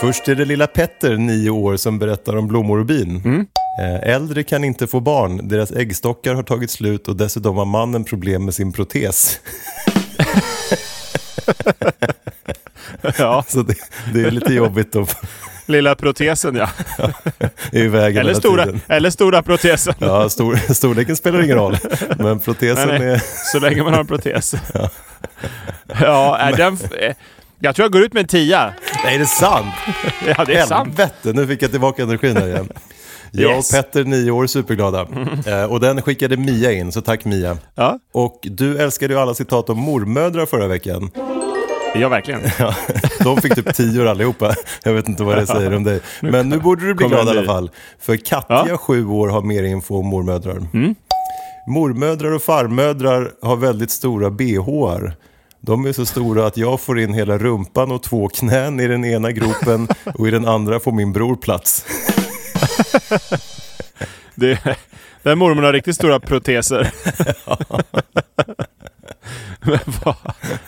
Speaker 3: Först är det lilla Petter, nio år, som berättar om blommor och bin.
Speaker 2: Mm.
Speaker 3: Eh, Äldre kan inte få barn, deras äggstockar har tagit slut och dessutom har mannen problem med sin protes.
Speaker 2: Ja,
Speaker 3: Så det, det är lite jobbigt att
Speaker 2: lilla protesen ja.
Speaker 3: i vägen
Speaker 2: Eller
Speaker 3: hela
Speaker 2: stora,
Speaker 3: tiden.
Speaker 2: eller stora protesen.
Speaker 3: Ja, stor, storleken spelar ingen roll, men protesen
Speaker 2: Nej, nej.
Speaker 3: är...
Speaker 2: eh, Så länge man har en protes. Ja, är den... f- eh, Jag tror jag går ut med en tia.
Speaker 3: Nej, det är sant!
Speaker 2: Ja, det är sant.
Speaker 3: Helvete, nu fick jag tillbaka energin här igen. Jag
Speaker 2: Yes.
Speaker 3: och Petter, nio år, superglada. Eh, och den skickade Mia in, så tack Mia.
Speaker 2: Ja.
Speaker 3: Och du älskade ju alla citat om mormödrar förra veckan.
Speaker 2: Ja, verkligen.
Speaker 3: Ja, de fick typ tio allihopa. Jag vet inte vad det säger om dig. Men nu borde du bli
Speaker 2: Kommer
Speaker 3: glad
Speaker 2: en
Speaker 3: i alla
Speaker 2: ny.
Speaker 3: fall. För Katja,
Speaker 2: Ja. Mm.
Speaker 3: sju år, har mer info om mormödrar. Mormödrar och farmödrar har väldigt stora bhar. De är så stora att jag får in hela rumpan och två knän i den ena gropen och i den andra får min bror plats.
Speaker 2: Det, den mormor har riktigt stora proteser. Men vad-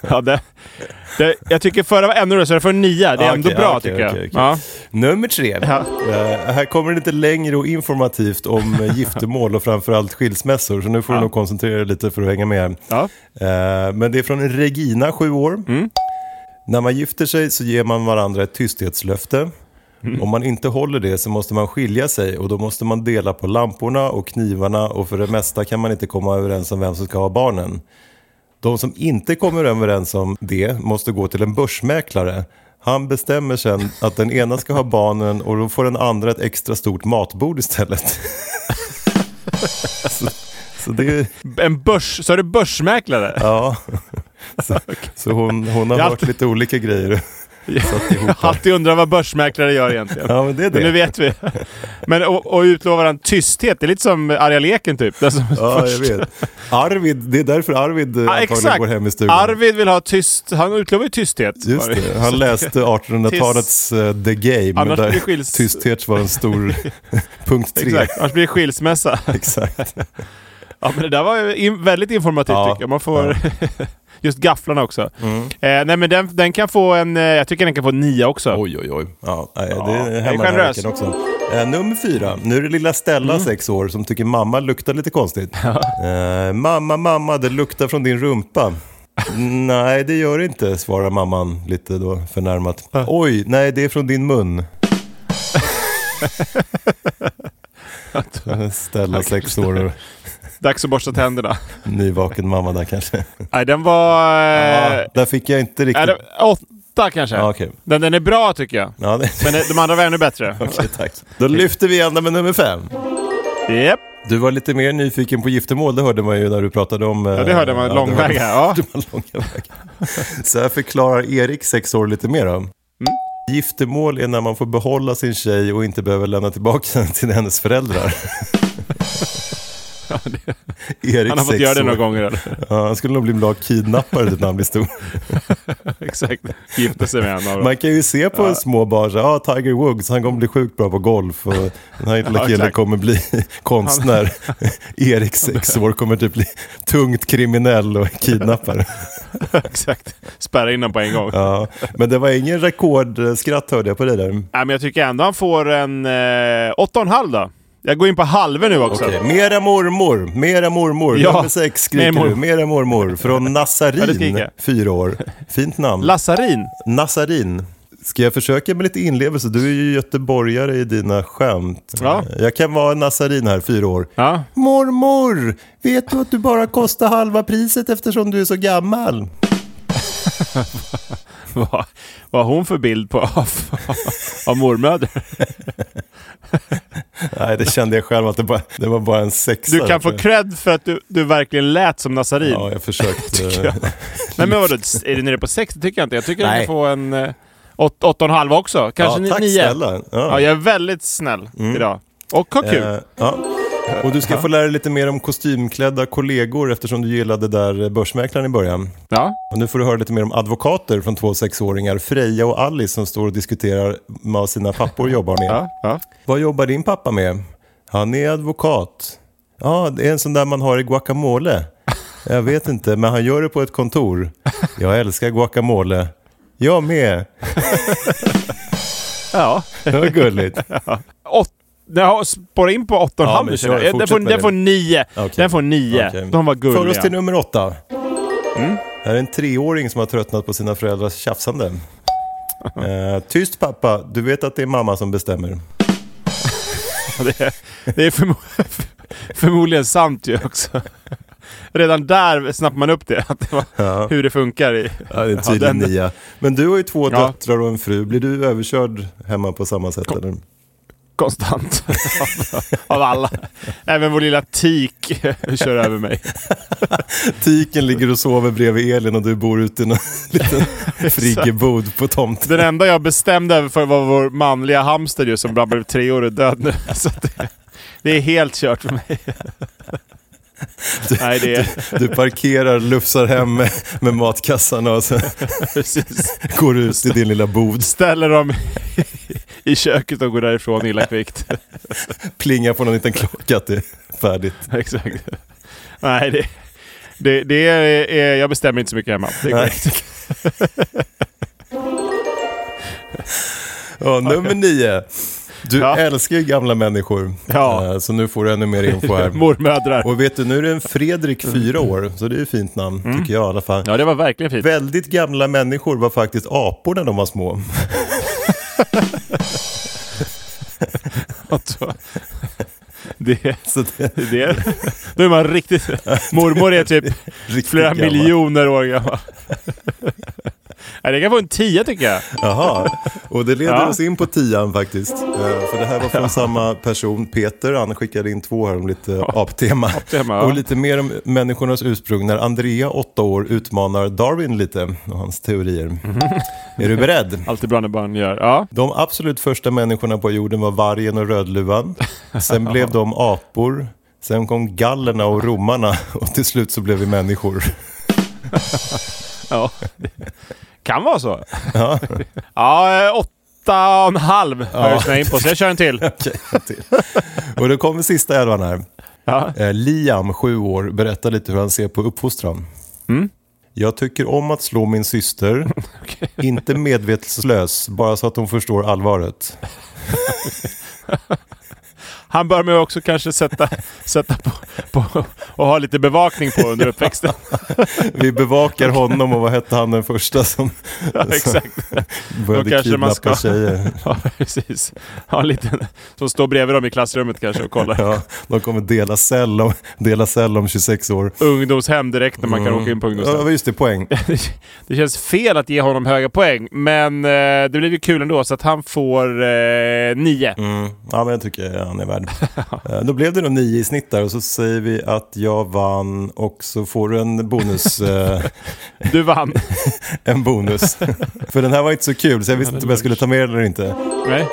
Speaker 2: ja, det, det, jag tycker förra var ännu roligare, så jag får nia. Det är
Speaker 3: Ja,
Speaker 2: ändå
Speaker 3: Ah, okej,
Speaker 2: bra
Speaker 3: ja, okej,
Speaker 2: tycker jag.
Speaker 3: okej, okej.
Speaker 2: Ja.
Speaker 3: Nummer tre. Eh, här kommer det lite längre och informativt om eh, giftermål och framförallt skilsmässor. Så nu får du nog koncentrera dig lite för att hänga med.
Speaker 2: Ja.
Speaker 3: Eh, men det är från Regina, sju år. När man gifter sig så ger man varandra ett tysthetslöfte. Om man inte håller det så måste man skilja sig och då måste man dela på lamporna och knivarna och för det mesta kan man inte komma överens om vem som ska ha barnen. De som inte kommer överens om det måste gå till en börsmäklare. Han bestämmer sen att den ena ska ha barnen och då får den andra ett extra stort matbord istället. så, så det är...
Speaker 2: En börs... Så är det börsmäklare?
Speaker 3: Ja. Så, så hon, hon har
Speaker 2: Jag har
Speaker 3: hört lite olika grejer. Satt ihop
Speaker 2: Jag har
Speaker 3: här.
Speaker 2: alltid undrat vad börsmäklare gör egentligen.
Speaker 3: Ja, men det är
Speaker 2: Men nu
Speaker 3: det.
Speaker 2: vet vi. Men, och, och utlovar han tysthet? Det är lite som arga leken typ. Den som
Speaker 3: Ja, jag
Speaker 2: först-
Speaker 3: vet. Arvid, det är därför Arvid eh,
Speaker 2: Ja,
Speaker 3: antagligen
Speaker 2: exakt.
Speaker 3: går hem i stugan.
Speaker 2: Arvid vill ha tyst. Han utlovar ju tysthet.
Speaker 3: Just det, han läste 1800-talets eh, The Game,
Speaker 2: Annars blir det
Speaker 3: där
Speaker 2: skils-
Speaker 3: tysthet var en stor punkt tre.
Speaker 2: Exakt, annars blir det skilsmässa.
Speaker 3: Exakt.
Speaker 2: Ja, men det där var ju in, väldigt informativt
Speaker 3: Ja, Mm.
Speaker 2: tycker jag. Man får... Just gafflarna också. Eh, nej men den, den kan få en... eh, Jag tycker den kan få en nia också.
Speaker 3: Oj, oj, oj. Ja, nej, det
Speaker 2: Ja, jag
Speaker 3: är
Speaker 2: är
Speaker 3: hemma den här
Speaker 2: generös.
Speaker 3: veckan också. Eh, nummer fyra. Nu är det lilla Stella, sex år, som tycker mamma luktar lite konstigt. Eh, mamma, mamma, det luktar från din rumpa. nej, det gör det inte, svarar mamman lite då förnärmat. Oj, nej, det är från din mun. Ställa sex år och
Speaker 2: Dags att borsta tänderna.
Speaker 3: nyvaken mamma där kanske.
Speaker 2: Nej, den var... eh,
Speaker 3: Ja, där fick jag inte
Speaker 2: är
Speaker 3: riktigt...
Speaker 2: det, åtta kanske.
Speaker 3: Ja, okej.
Speaker 2: den, den är bra tycker jag.
Speaker 3: Ja, det...
Speaker 2: Men eh, de andra var ännu bättre.
Speaker 3: Okej, tack. Då lyfter vi ändå med nummer fem.
Speaker 2: Japp.
Speaker 3: Du var lite mer nyfiken på giftermål, det hörde man ju när du pratade om... eh,
Speaker 2: Ja, det hörde man. Långväga. Ja.
Speaker 3: långa vägar. Så här förklarar Erik, sex år, lite mer. Då.
Speaker 2: Mm.
Speaker 3: Giftermål är när man får behålla sin tjej och inte behöver lämna tillbaka den till hennes föräldrar.
Speaker 2: Han
Speaker 3: Erik,
Speaker 2: har fått
Speaker 3: sex
Speaker 2: göra det
Speaker 3: år.
Speaker 2: några gånger. Eller?
Speaker 3: Ja, han skulle nog bli en bra kidnappare när han blir stor.
Speaker 2: Exakt. Gifte sig med en av dem.
Speaker 3: Man kan ju se på små barn, så här, ah, Tiger Woods, han kommer bli sjukt bra på golf och den här lilla
Speaker 2: Ja,
Speaker 3: killen
Speaker 2: exakt.
Speaker 3: kommer bli konstnär. Erik, sex år, kommer typ bli tungt kriminell och kidnappare.
Speaker 2: Exakt. Spärra in den på en gång.
Speaker 3: Ja, men det var ingen rekordskratt hörde jag på dig där.
Speaker 2: Nej, men jag tycker ändå han får en eh, åtta och en halv då. Jag går in på halva nu också.
Speaker 3: Okej, Mera mormor, mera mormor.
Speaker 2: Ja,
Speaker 3: Nummer sex
Speaker 2: mer
Speaker 3: skriker
Speaker 2: mor-
Speaker 3: du. Mera mormor. Från
Speaker 2: Ja, det
Speaker 3: Nazarin,
Speaker 2: skriker jag.
Speaker 3: fyra år. Fint namn.
Speaker 2: Lassarin.
Speaker 3: Nazarin. Ska jag försöka med lite inlevelse? Du är ju göteborgare i dina skämt.
Speaker 2: Ja.
Speaker 3: Jag kan vara Nazarin här, fyra år.
Speaker 2: Ja.
Speaker 3: Mormor, vet du att du bara kostar halva priset eftersom du är så gammal?
Speaker 2: Vad vad har hon för bild på av, av mormödrar?
Speaker 3: Nej, det kände jag själv att det, bara, det var bara en sexa.
Speaker 2: Du kan få cred för att du, du verkligen lät som Nazarin.
Speaker 3: Ja, jag försökte.
Speaker 2: Nej men vadå, är det nere på 60 tycker jag inte. Jag tycker att du
Speaker 3: Nej.
Speaker 2: kan få en eh, åt- åtta och en halv också. Kanske ni-
Speaker 3: tack
Speaker 2: nio.
Speaker 3: snälla. Ja.
Speaker 2: Ja, jag är väldigt snäll idag. Och har kul.
Speaker 3: Eh, ja. Och du ska få lära dig lite mer om kostymklädda kollegor eftersom du gillade där börsmäklaren i början.
Speaker 2: Ja.
Speaker 3: Och nu får du höra lite mer om advokater från två sexåringar, Freja och Alice, som står och diskuterar vad sina pappor jobbar med.
Speaker 2: Ja, ja.
Speaker 3: Vad jobbar din pappa med? Han är advokat. Ja, det är en sån där man har i guacamole. Jag vet inte, men han gör det på ett kontor. Jag älskar guacamole. Jag med.
Speaker 2: ja.
Speaker 3: Det var gulligt.
Speaker 2: Åt, ja, spåra in på åtta och en
Speaker 3: Ja,
Speaker 2: halv
Speaker 3: men
Speaker 2: nu,
Speaker 3: kör,
Speaker 2: känner jag. Den
Speaker 3: fortsätt
Speaker 2: får,
Speaker 3: med
Speaker 2: den
Speaker 3: det.
Speaker 2: får nio.
Speaker 3: Okej.
Speaker 2: Den får nio.
Speaker 3: Okej.
Speaker 2: De var
Speaker 3: För oss
Speaker 2: gulliga.
Speaker 3: till nummer åtta. Det här är en treåring som har tröttnat på sina föräldrars tjafsande. Eh, tyst pappa, du vet att det är mamma som bestämmer.
Speaker 2: Det är, det är förmo förmodligen sant ju också. Redan där snappar man upp det, att det var, hur det funkar. I,
Speaker 3: Ja, det är tydligen
Speaker 2: den-
Speaker 3: nia. Men du har ju två
Speaker 2: Ja.
Speaker 3: döttrar och en fru. Blir du överkörd hemma på samma sätt? Eller?
Speaker 2: konstant av, av alla. Även vår lilla tik kör över mig.
Speaker 3: Tiken ligger och sover bredvid Elin och du bor ute i någon liten friggebod på tomten.
Speaker 2: Den enda jag bestämde över för var vår manliga hamster ju som bara blev tre år och död nu. Så att det, det är helt kört för mig. Nej, det är
Speaker 3: Du parkerar, lufsar hem med, med matkassarna och sen
Speaker 2: precis.
Speaker 3: går du ut i din lilla bod.
Speaker 2: Ställer dem i köket och går därifrån illa kvickt.
Speaker 3: Plingar på någon liten klocka att det är färdigt.
Speaker 2: Exakt. Nej, det, det, det är, jag bestämmer inte så mycket hemma. Det är
Speaker 3: Nej.
Speaker 2: korrekt.
Speaker 3: Ja, nummer nio. Du
Speaker 2: Ja.
Speaker 3: älskar ju gamla människor.
Speaker 2: Ja.
Speaker 3: Eh, Så nu får du ännu mer info här.
Speaker 2: Mormödrar.
Speaker 3: Och vet du, nu är det en Fredrik, fyra år. Så det är ju fint namn,
Speaker 2: Mm.
Speaker 3: tycker jag i alla fall.
Speaker 2: Ja, det var verkligen fint.
Speaker 3: Väldigt gamla människor var faktiskt apor när de var små.
Speaker 2: Alltså, Det,
Speaker 3: Så det
Speaker 2: det, är- då är man riktigt... Mormor är typ
Speaker 3: Riktigt
Speaker 2: flera
Speaker 3: gammal.
Speaker 2: miljoner år gammal. Nej, det kan få en tia tycker jag.
Speaker 3: Jaha, och det leder
Speaker 2: Ja.
Speaker 3: oss in på tian faktiskt. Eh, För det här var från samma person, Peter. Han skickade in två här om lite aptema.
Speaker 2: aptema, ja.
Speaker 3: och lite mer om människornas ursprung när Andrea, åtta år, utmanar Darwin lite och hans teorier.
Speaker 2: Mhm.
Speaker 3: Är du beredd?
Speaker 2: Alltid bra när barn gör. Ja.
Speaker 3: De absolut första människorna på jorden var vargen och rödluvan. Sen blev de apor. Sen kom gallerna och romarna och till slut så blev vi människor.
Speaker 2: ja. Kan vara så. Ja, eh, åtta och en halv har jag snöat in på, så jag kör en till.
Speaker 3: Okej, en till. Och då kommer sista elvan här.
Speaker 2: Ja.
Speaker 3: Eh, Liam, sju år, berättar lite hur han ser på uppfostran.
Speaker 2: Mm.
Speaker 3: Jag tycker om att slå min syster, inte medvetslös, bara så att hon förstår allvaret.
Speaker 2: Han bör man ju också kanske sätta, sätta på, på och ha lite bevakning på under uppväxten.
Speaker 3: Vi bevakar honom och vad hette han den första som
Speaker 2: Ja, exakt. Då
Speaker 3: började
Speaker 2: kanske man
Speaker 3: kidnappa
Speaker 2: ska-
Speaker 3: tjejer?
Speaker 2: Ja, precis. Ha en liten som står bredvid dem i klassrummet kanske och kollar.
Speaker 3: Ja, de kommer dela cell om, dela cell om 26 år.
Speaker 2: Ungdomshem direkt när man kan åka in på ungdomshem.
Speaker 3: Mm. Ja, just det, poäng.
Speaker 2: Det känns fel att ge honom höga poäng, men eh, det blev ju kul ändå så att han får eh, nio.
Speaker 3: Mm. Ja, men jag tycker han är värd. Eh, Då blev det nog nio i snitt där och så säger vi att jag vann och så får du en bonus. eh,
Speaker 2: Du vann.
Speaker 3: en bonus. För den här var inte så kul så jag visste inte om jag skulle ta med den eller inte.
Speaker 2: Nej.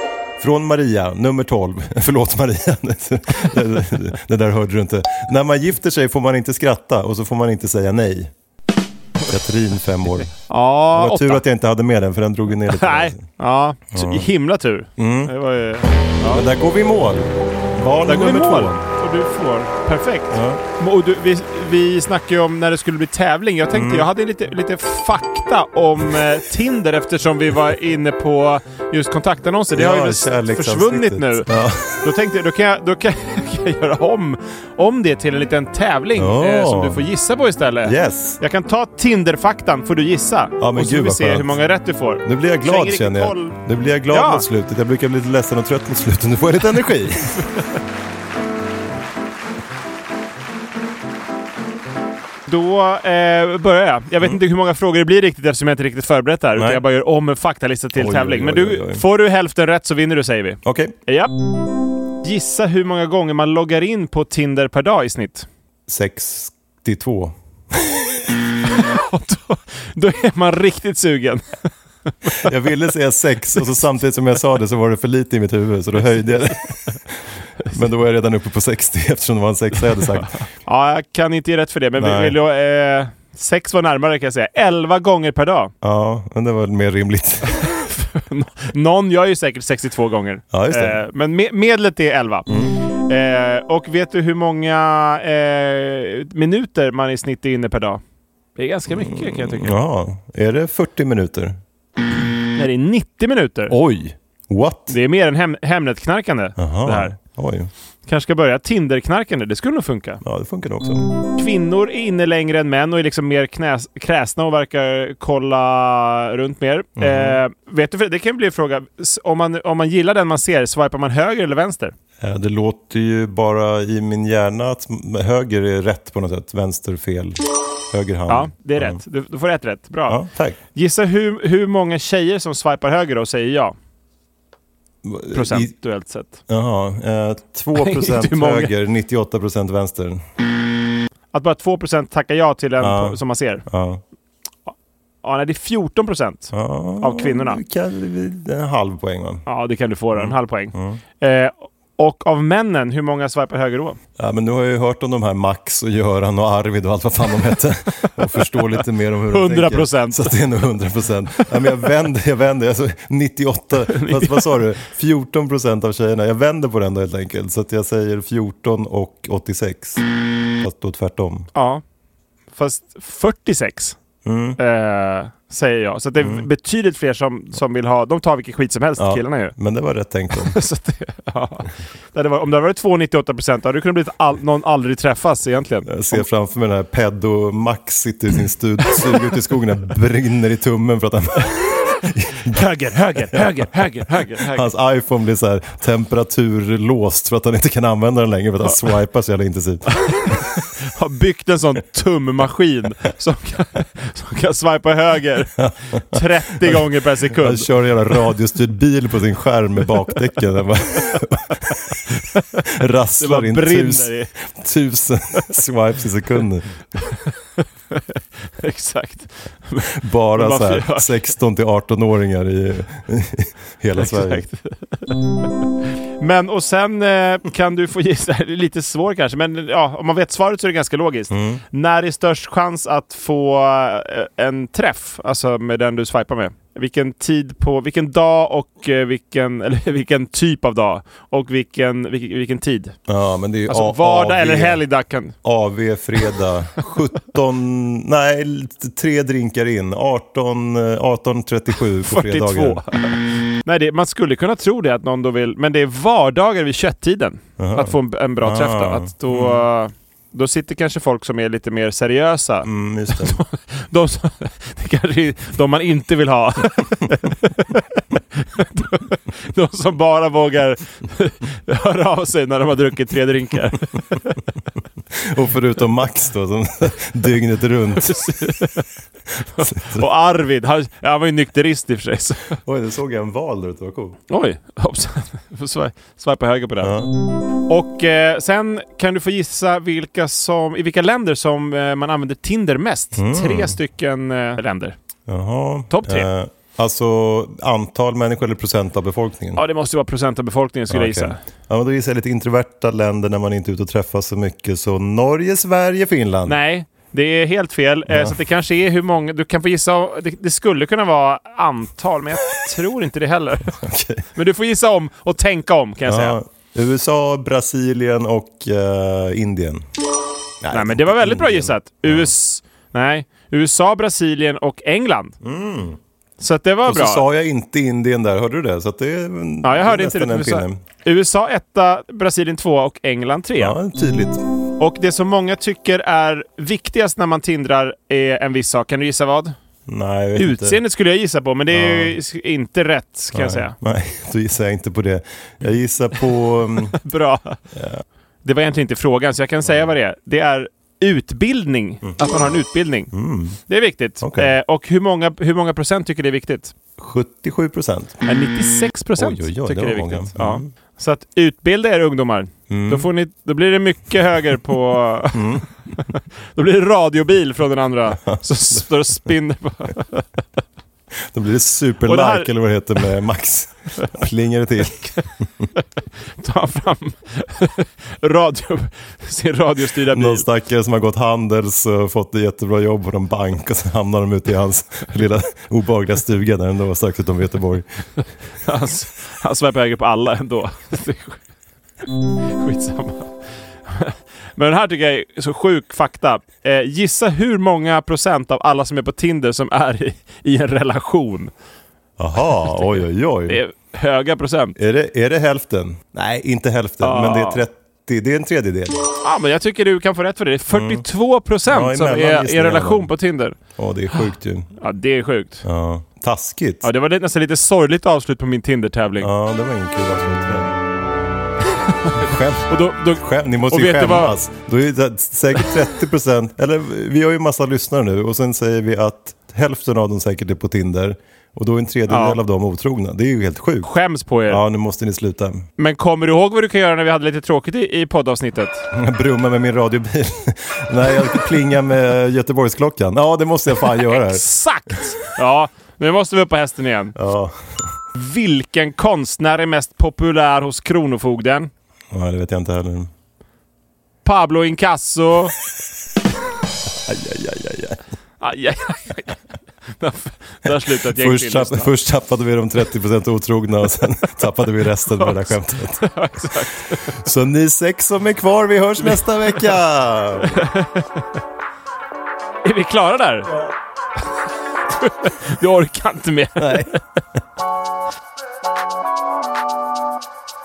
Speaker 3: Från Maria, nummer 12. Förlåt Maria, Det- det där hörde du inte. När man gifter sig får man inte skratta och så får man inte säga nej. Katrin, fem år. Det
Speaker 2: Ja,
Speaker 3: var
Speaker 2: åtta.
Speaker 3: tur att jag inte hade med den för den drog ju ner lite.
Speaker 2: Nej. Ja, så himla tur.
Speaker 3: Mm.
Speaker 2: Det var ju...
Speaker 3: Men där går vi i mål. Barn
Speaker 2: Där går vi
Speaker 3: nummer
Speaker 2: mål.
Speaker 3: två.
Speaker 2: Och du får. Perfekt. Och du, vi, vi snackade ju om när det skulle bli tävling. Jag
Speaker 3: Mm.
Speaker 2: tänkte jag hade lite, lite fakta om eh, Tinder eftersom vi var inne på just kontaktannonser. Det har ju
Speaker 3: Ja,
Speaker 2: väl
Speaker 3: kärleksavsnittet.
Speaker 2: försvunnit nu.
Speaker 3: Ja.
Speaker 2: Då tänkte jag, då kan jag, då kan jag göra om, om det till en liten tävling
Speaker 3: Ja.
Speaker 2: eh, som du får gissa på istället.
Speaker 3: Yes.
Speaker 2: Jag kan ta Tinder-faktan får du gissa.
Speaker 3: Ja, men
Speaker 2: och så
Speaker 3: gud,
Speaker 2: vi
Speaker 3: vad
Speaker 2: se
Speaker 3: skönt.
Speaker 2: hur många rätt du får.
Speaker 3: Nu blir jag
Speaker 2: Slänger
Speaker 3: glad
Speaker 2: riktigt
Speaker 3: känner jag.
Speaker 2: koll.
Speaker 3: Nu blir jag glad
Speaker 2: Ja.
Speaker 3: mot slutet. Jag brukar bli lite ledsen och trött mot slutet. Nu får jag lite energi.
Speaker 2: Då eh, börjar jag. Jag vet inte hur många frågor det blir riktigt eftersom jag inte riktigt förberett det här. Utan
Speaker 3: Mm. Nej.
Speaker 2: jag bara gör om en faktalista till
Speaker 3: Oj,
Speaker 2: tävling.
Speaker 3: oj,
Speaker 2: Men
Speaker 3: oj,
Speaker 2: du,
Speaker 3: oj, oj.
Speaker 2: får du hälften rätt så vinner du säger vi.
Speaker 3: Okej.
Speaker 2: Ja. Gissa hur många gånger man loggar in på Tinder per dag i snitt.
Speaker 3: 62.
Speaker 2: Då är man riktigt sugen.
Speaker 3: Jag ville säga sex och så samtidigt som jag sa det så var det för lite i mitt huvud så då höjde jag det. Men då var jag redan uppe på 60 eftersom det var en sexa jag hade sagt.
Speaker 2: Ja, jag kan inte ge rätt för det, men vi
Speaker 3: Nej.
Speaker 2: vill jag, eh, sex var närmare kan jag säga. Elva gånger per dag.
Speaker 3: Ja, men det var mer rimligt.
Speaker 2: Någon gör ju säkert 62 gånger.
Speaker 3: Ja, just det. Mm.
Speaker 2: Eh, men me- medlet är 11. Eh, och vet du hur många eh, minuter man i snitt är inne per dag? Det är ganska mycket kan jag tycka.
Speaker 3: Mm. Ja, är det 40 minuter?
Speaker 2: Nej, det är 90 minuter.
Speaker 3: Oj! What?
Speaker 2: Det är mer än hem- Hemnet-knarkande. Det här.
Speaker 3: Oj.
Speaker 2: Kanske ska börja Tinder-knarkande. Det skulle nog funka.
Speaker 3: Ja, det funkar också.
Speaker 2: Kvinnor är inne längre än män och är liksom mer knäs- kräsna och verkar kolla runt mer.
Speaker 3: Mm-hmm.
Speaker 2: Eh, vet du, för- det kan bli en fråga. S- Om man, om man gillar den man ser, swipar man höger eller vänster?
Speaker 3: Eh, Det låter ju bara i min hjärna att m- höger är rätt på något sätt, vänster fel, höger hand.
Speaker 2: Ja, det är
Speaker 3: Mm.
Speaker 2: rätt. Du, du får ett rätt. Bra.
Speaker 3: Ja, tack.
Speaker 2: Gissa hur, hur många tjejer som swipar höger och säger ja,
Speaker 3: I-
Speaker 2: procentuellt sett.
Speaker 3: Jaha, eh, 2
Speaker 2: Hur
Speaker 3: procent
Speaker 2: många?
Speaker 3: höger, 98 procent vänster.
Speaker 2: Att bara 2% tackar ja till en
Speaker 3: Ja.
Speaker 2: på, som man ser.
Speaker 3: Ja.
Speaker 2: Ja, nej, det är 14%.
Speaker 3: Ja,
Speaker 2: Av kvinnorna.
Speaker 3: kan- En halv poäng va?
Speaker 2: Ja, det kan du få då.
Speaker 3: Mm.
Speaker 2: En halv poäng. Eh, och av männen, hur många swipar höger då?
Speaker 3: Ja, men nu har jag ju hört om de här Max och Göran och Arvid och allt vad fan de hette. Och förstår lite mer om hur de
Speaker 2: 100
Speaker 3: tänker. Så att det är nog 100 procent. Ja, men jag vänder, jag vänder. Alltså 98, vad, vad sa du? 14 procent av tjejerna. Jag vänder på den då helt enkelt. Så att jag säger 14 och 86. Fast då tvärtom.
Speaker 2: Ja, fast 46
Speaker 3: Mm.
Speaker 2: eh, säger jag. Så att det är betydligt fler som, som vill ha... De tar vilken skit som helst,
Speaker 3: Ja,
Speaker 2: killarna ju.
Speaker 3: Men det var rätt tänkt om.
Speaker 2: Så att det, ja. det hade varit, om det hade varit 2,98% hade det kunnat bli ett all, någon aldrig träffas egentligen.
Speaker 3: Jag ser framför mig den här pedo Max sitter i sin stud, suger ut i skogen, brinner i tummen för att han,
Speaker 2: Höger, höger, höger, höger, höger, höger.
Speaker 3: hans iPhone blir så här temperaturlåst för att han inte kan använda den längre för att han swipar så jävla intensivt.
Speaker 2: har byggt en sån tummaskin som kan, som kan swipa höger 30 gånger per
Speaker 3: Han
Speaker 2: sekund.
Speaker 3: kör en jävla radiostyrd bil på sin skärm med bakdäcken. Den bara
Speaker 2: Det bara
Speaker 3: rasslar in
Speaker 2: brinner
Speaker 3: tus,
Speaker 2: i.
Speaker 3: tusen swipes i sekunden.
Speaker 2: Exakt.
Speaker 3: Bara så
Speaker 2: Varför
Speaker 3: här
Speaker 2: gör-
Speaker 3: 16 till 18-åringar i, i hela Sverige.
Speaker 2: Exakt. Men och sen eh, kan du få gissa, det är lite svår kanske, men ja, om man vet svaret så är det ganska logiskt.
Speaker 3: Mm.
Speaker 2: När är störst chans att få eh, en träff, alltså med den du swipar med? Vilken tid på, vilken dag och eh, vilken, eller vilken typ av dag och vilken, vilken, vilken tid?
Speaker 3: Ja, men det är ju
Speaker 2: Alltså
Speaker 3: A-
Speaker 2: vardag
Speaker 3: AV.
Speaker 2: eller helgdag kan...
Speaker 3: AV fredag 17, nej, tre drinkar in. 18, eh, 18.37
Speaker 2: 42.
Speaker 3: på fredagar.
Speaker 2: Nej, det, man skulle kunna tro det att någon då vill, men det är vardagar vid kötttiden. Att få en, en bra träff då.
Speaker 3: Ah.
Speaker 2: Att då, då sitter kanske folk som är lite mer seriösa.
Speaker 3: Mm, just det.
Speaker 2: De, som, det kanske är de man inte vill ha. de, de som bara vågar höra av sig när de har druckit tre drinkar.
Speaker 3: Och förutom Max då, som dygnet runt.
Speaker 2: Och Arvid, han, han var ju nykterist i och för sig. Så.
Speaker 3: Oj, nu såg jag en val där ute, vad coolt.
Speaker 2: Oj, hoppsan. Får svaj- Swipa höger på den. Och eh, sen kan du få gissa vilka som, i vilka länder som eh, man använder Tinder mest.
Speaker 3: Mm.
Speaker 2: Tre stycken eh, länder.
Speaker 3: Jaha.
Speaker 2: Topp tre.
Speaker 3: Eh, alltså antal människor eller procent av befolkningen?
Speaker 2: Ja, det måste ju vara procent av befolkningen skulle
Speaker 3: Ja,
Speaker 2: jag
Speaker 3: okej.
Speaker 2: gissa.
Speaker 3: Ja, men då gissar jag lite introverta länder när man inte är ute och träffas så mycket. Så Norge, Sverige, Finland.
Speaker 2: Nej, det är helt fel. Eh, Så att det kanske är hur många... Du kan få gissa... Det, det skulle kunna vara antal, men jag tror inte det heller.
Speaker 3: Okej.
Speaker 2: Men du får gissa om och tänka om kan jag säga.
Speaker 3: Ja, USA, Brasilien och eh, Indien.
Speaker 2: Nej, men det var väldigt bra gissat. US... Nej. USA, Brasilien och England. Så att det var
Speaker 3: Mm. Och så
Speaker 2: bra.
Speaker 3: sa jag inte Indien där, hörde du det? Så att det är en-
Speaker 2: Ja, jag hörde inte
Speaker 3: nästan
Speaker 2: det. men
Speaker 3: en
Speaker 2: du sa- USA
Speaker 3: pinne.
Speaker 2: etta, Brasilien tvåa och England trea.
Speaker 3: Ja, tydligt.
Speaker 2: Och det som många tycker är viktigast när man tindrar är en viss sak. Kan du gissa vad?
Speaker 3: Nej, jag vet inte.
Speaker 2: Utseendet skulle jag gissa på, men det är ju s- inte rätt kan jag säga.
Speaker 3: Nej, då gissar jag inte på det. Jag gissar på... mm,
Speaker 2: Bra. Det var egentligen inte frågan, så jag kan säga vad det är. Det är utbildning. Att man har en utbildning. Det är viktigt.
Speaker 3: Mm. Okej.
Speaker 2: Eh, och hur många, hur många procent tycker det är viktigt?
Speaker 3: 77 procent.
Speaker 2: Ja, 96 procent
Speaker 3: Mm. Oj, oj, oj,
Speaker 2: tycker
Speaker 3: det
Speaker 2: det
Speaker 3: var
Speaker 2: är
Speaker 3: många.
Speaker 2: viktigt. Ja.
Speaker 3: Mm.
Speaker 2: Så att utbilda er ungdomar. Då, får ni, då blir det mycket höger på...
Speaker 3: Mm.
Speaker 2: då blir det radiobil från den andra som står och spinner på...
Speaker 3: Då blir det
Speaker 2: Och det
Speaker 3: superlike
Speaker 2: här-
Speaker 3: eller vad det heter med Max. Plingar det till.
Speaker 2: Ta fram radio, sin radiostyrda bil.
Speaker 3: Någon stackare som har gått Handels och fått ett jättebra jobb på någon bank och sen hamnar de ute i hans lilla obehagliga stuga där ändå strax utom Göteborg.
Speaker 2: Han, han svepar höger på alla ändå. Det är sk- Skitsamma. Men den här tycker jag är så sjuk fakta. Eh, gissa hur många procent av alla som är på Tinder som är i, i en relation.
Speaker 3: Jaha, oj oj
Speaker 2: Det
Speaker 3: oj.
Speaker 2: är höga procent.
Speaker 3: Är det, är det hälften? Nej, inte hälften,
Speaker 2: Ah.
Speaker 3: men det är 30. Det är en tredjedel.
Speaker 2: Ja, men jag tycker du kan få rätt för det. Det är 42 procent
Speaker 3: Mm. Ja,
Speaker 2: som
Speaker 3: emellan
Speaker 2: är i en
Speaker 3: gissningarna
Speaker 2: relation
Speaker 3: då.
Speaker 2: på Tinder.
Speaker 3: Ja, det är sjukt ju.
Speaker 2: Ja, det är sjukt.
Speaker 3: Ja. Taskigt.
Speaker 2: Ah. Ja, det var lite- nästan lite sorgligt avslut på min Tinder-tävling.
Speaker 3: Ja, det var ingen kul avslutning. Skämt.
Speaker 2: Och då, då,
Speaker 3: Skäm, ni måste
Speaker 2: Och
Speaker 3: ju
Speaker 2: vet du vad-
Speaker 3: skämmas. Då är det säkert 30 procent, eller vi har ju massa lyssnare nu och sen säger vi att hälften av dem säkert är på Tinder och då är en tredjedel
Speaker 2: Ja.
Speaker 3: av dem otrogna. Det är ju helt sjukt.
Speaker 2: skäms på er.
Speaker 3: Ja, nu måste ni sluta.
Speaker 2: Men kommer du ihåg vad du kan göra när vi hade lite tråkigt i, i poddavsnittet?
Speaker 3: Jag brummar med min radiobil. Nej, jag plingar med Göteborgsklockan. Ja, det måste jag fan göra.
Speaker 2: Exakt! Ja, nu måste vi upp på hästen igen.
Speaker 3: Ja,
Speaker 2: Vilken konstnär är mest populär hos Kronofogden?
Speaker 3: ja det vet jag inte heller.
Speaker 2: Pablo Incasso.
Speaker 3: Aj, aj, aj, aj, aj.
Speaker 2: Aj, aj, aj, aj. Där, där slutade ett gäng
Speaker 3: Först,
Speaker 2: till
Speaker 3: tapp,
Speaker 2: lyssna.
Speaker 3: först tappade vi de 30% otrogna och sen tappade vi resten med det där skämtet. Så ni sex som är kvar, vi hörs nästa vecka!
Speaker 2: Är vi klara där? Du orkar inte mer.
Speaker 3: Nej.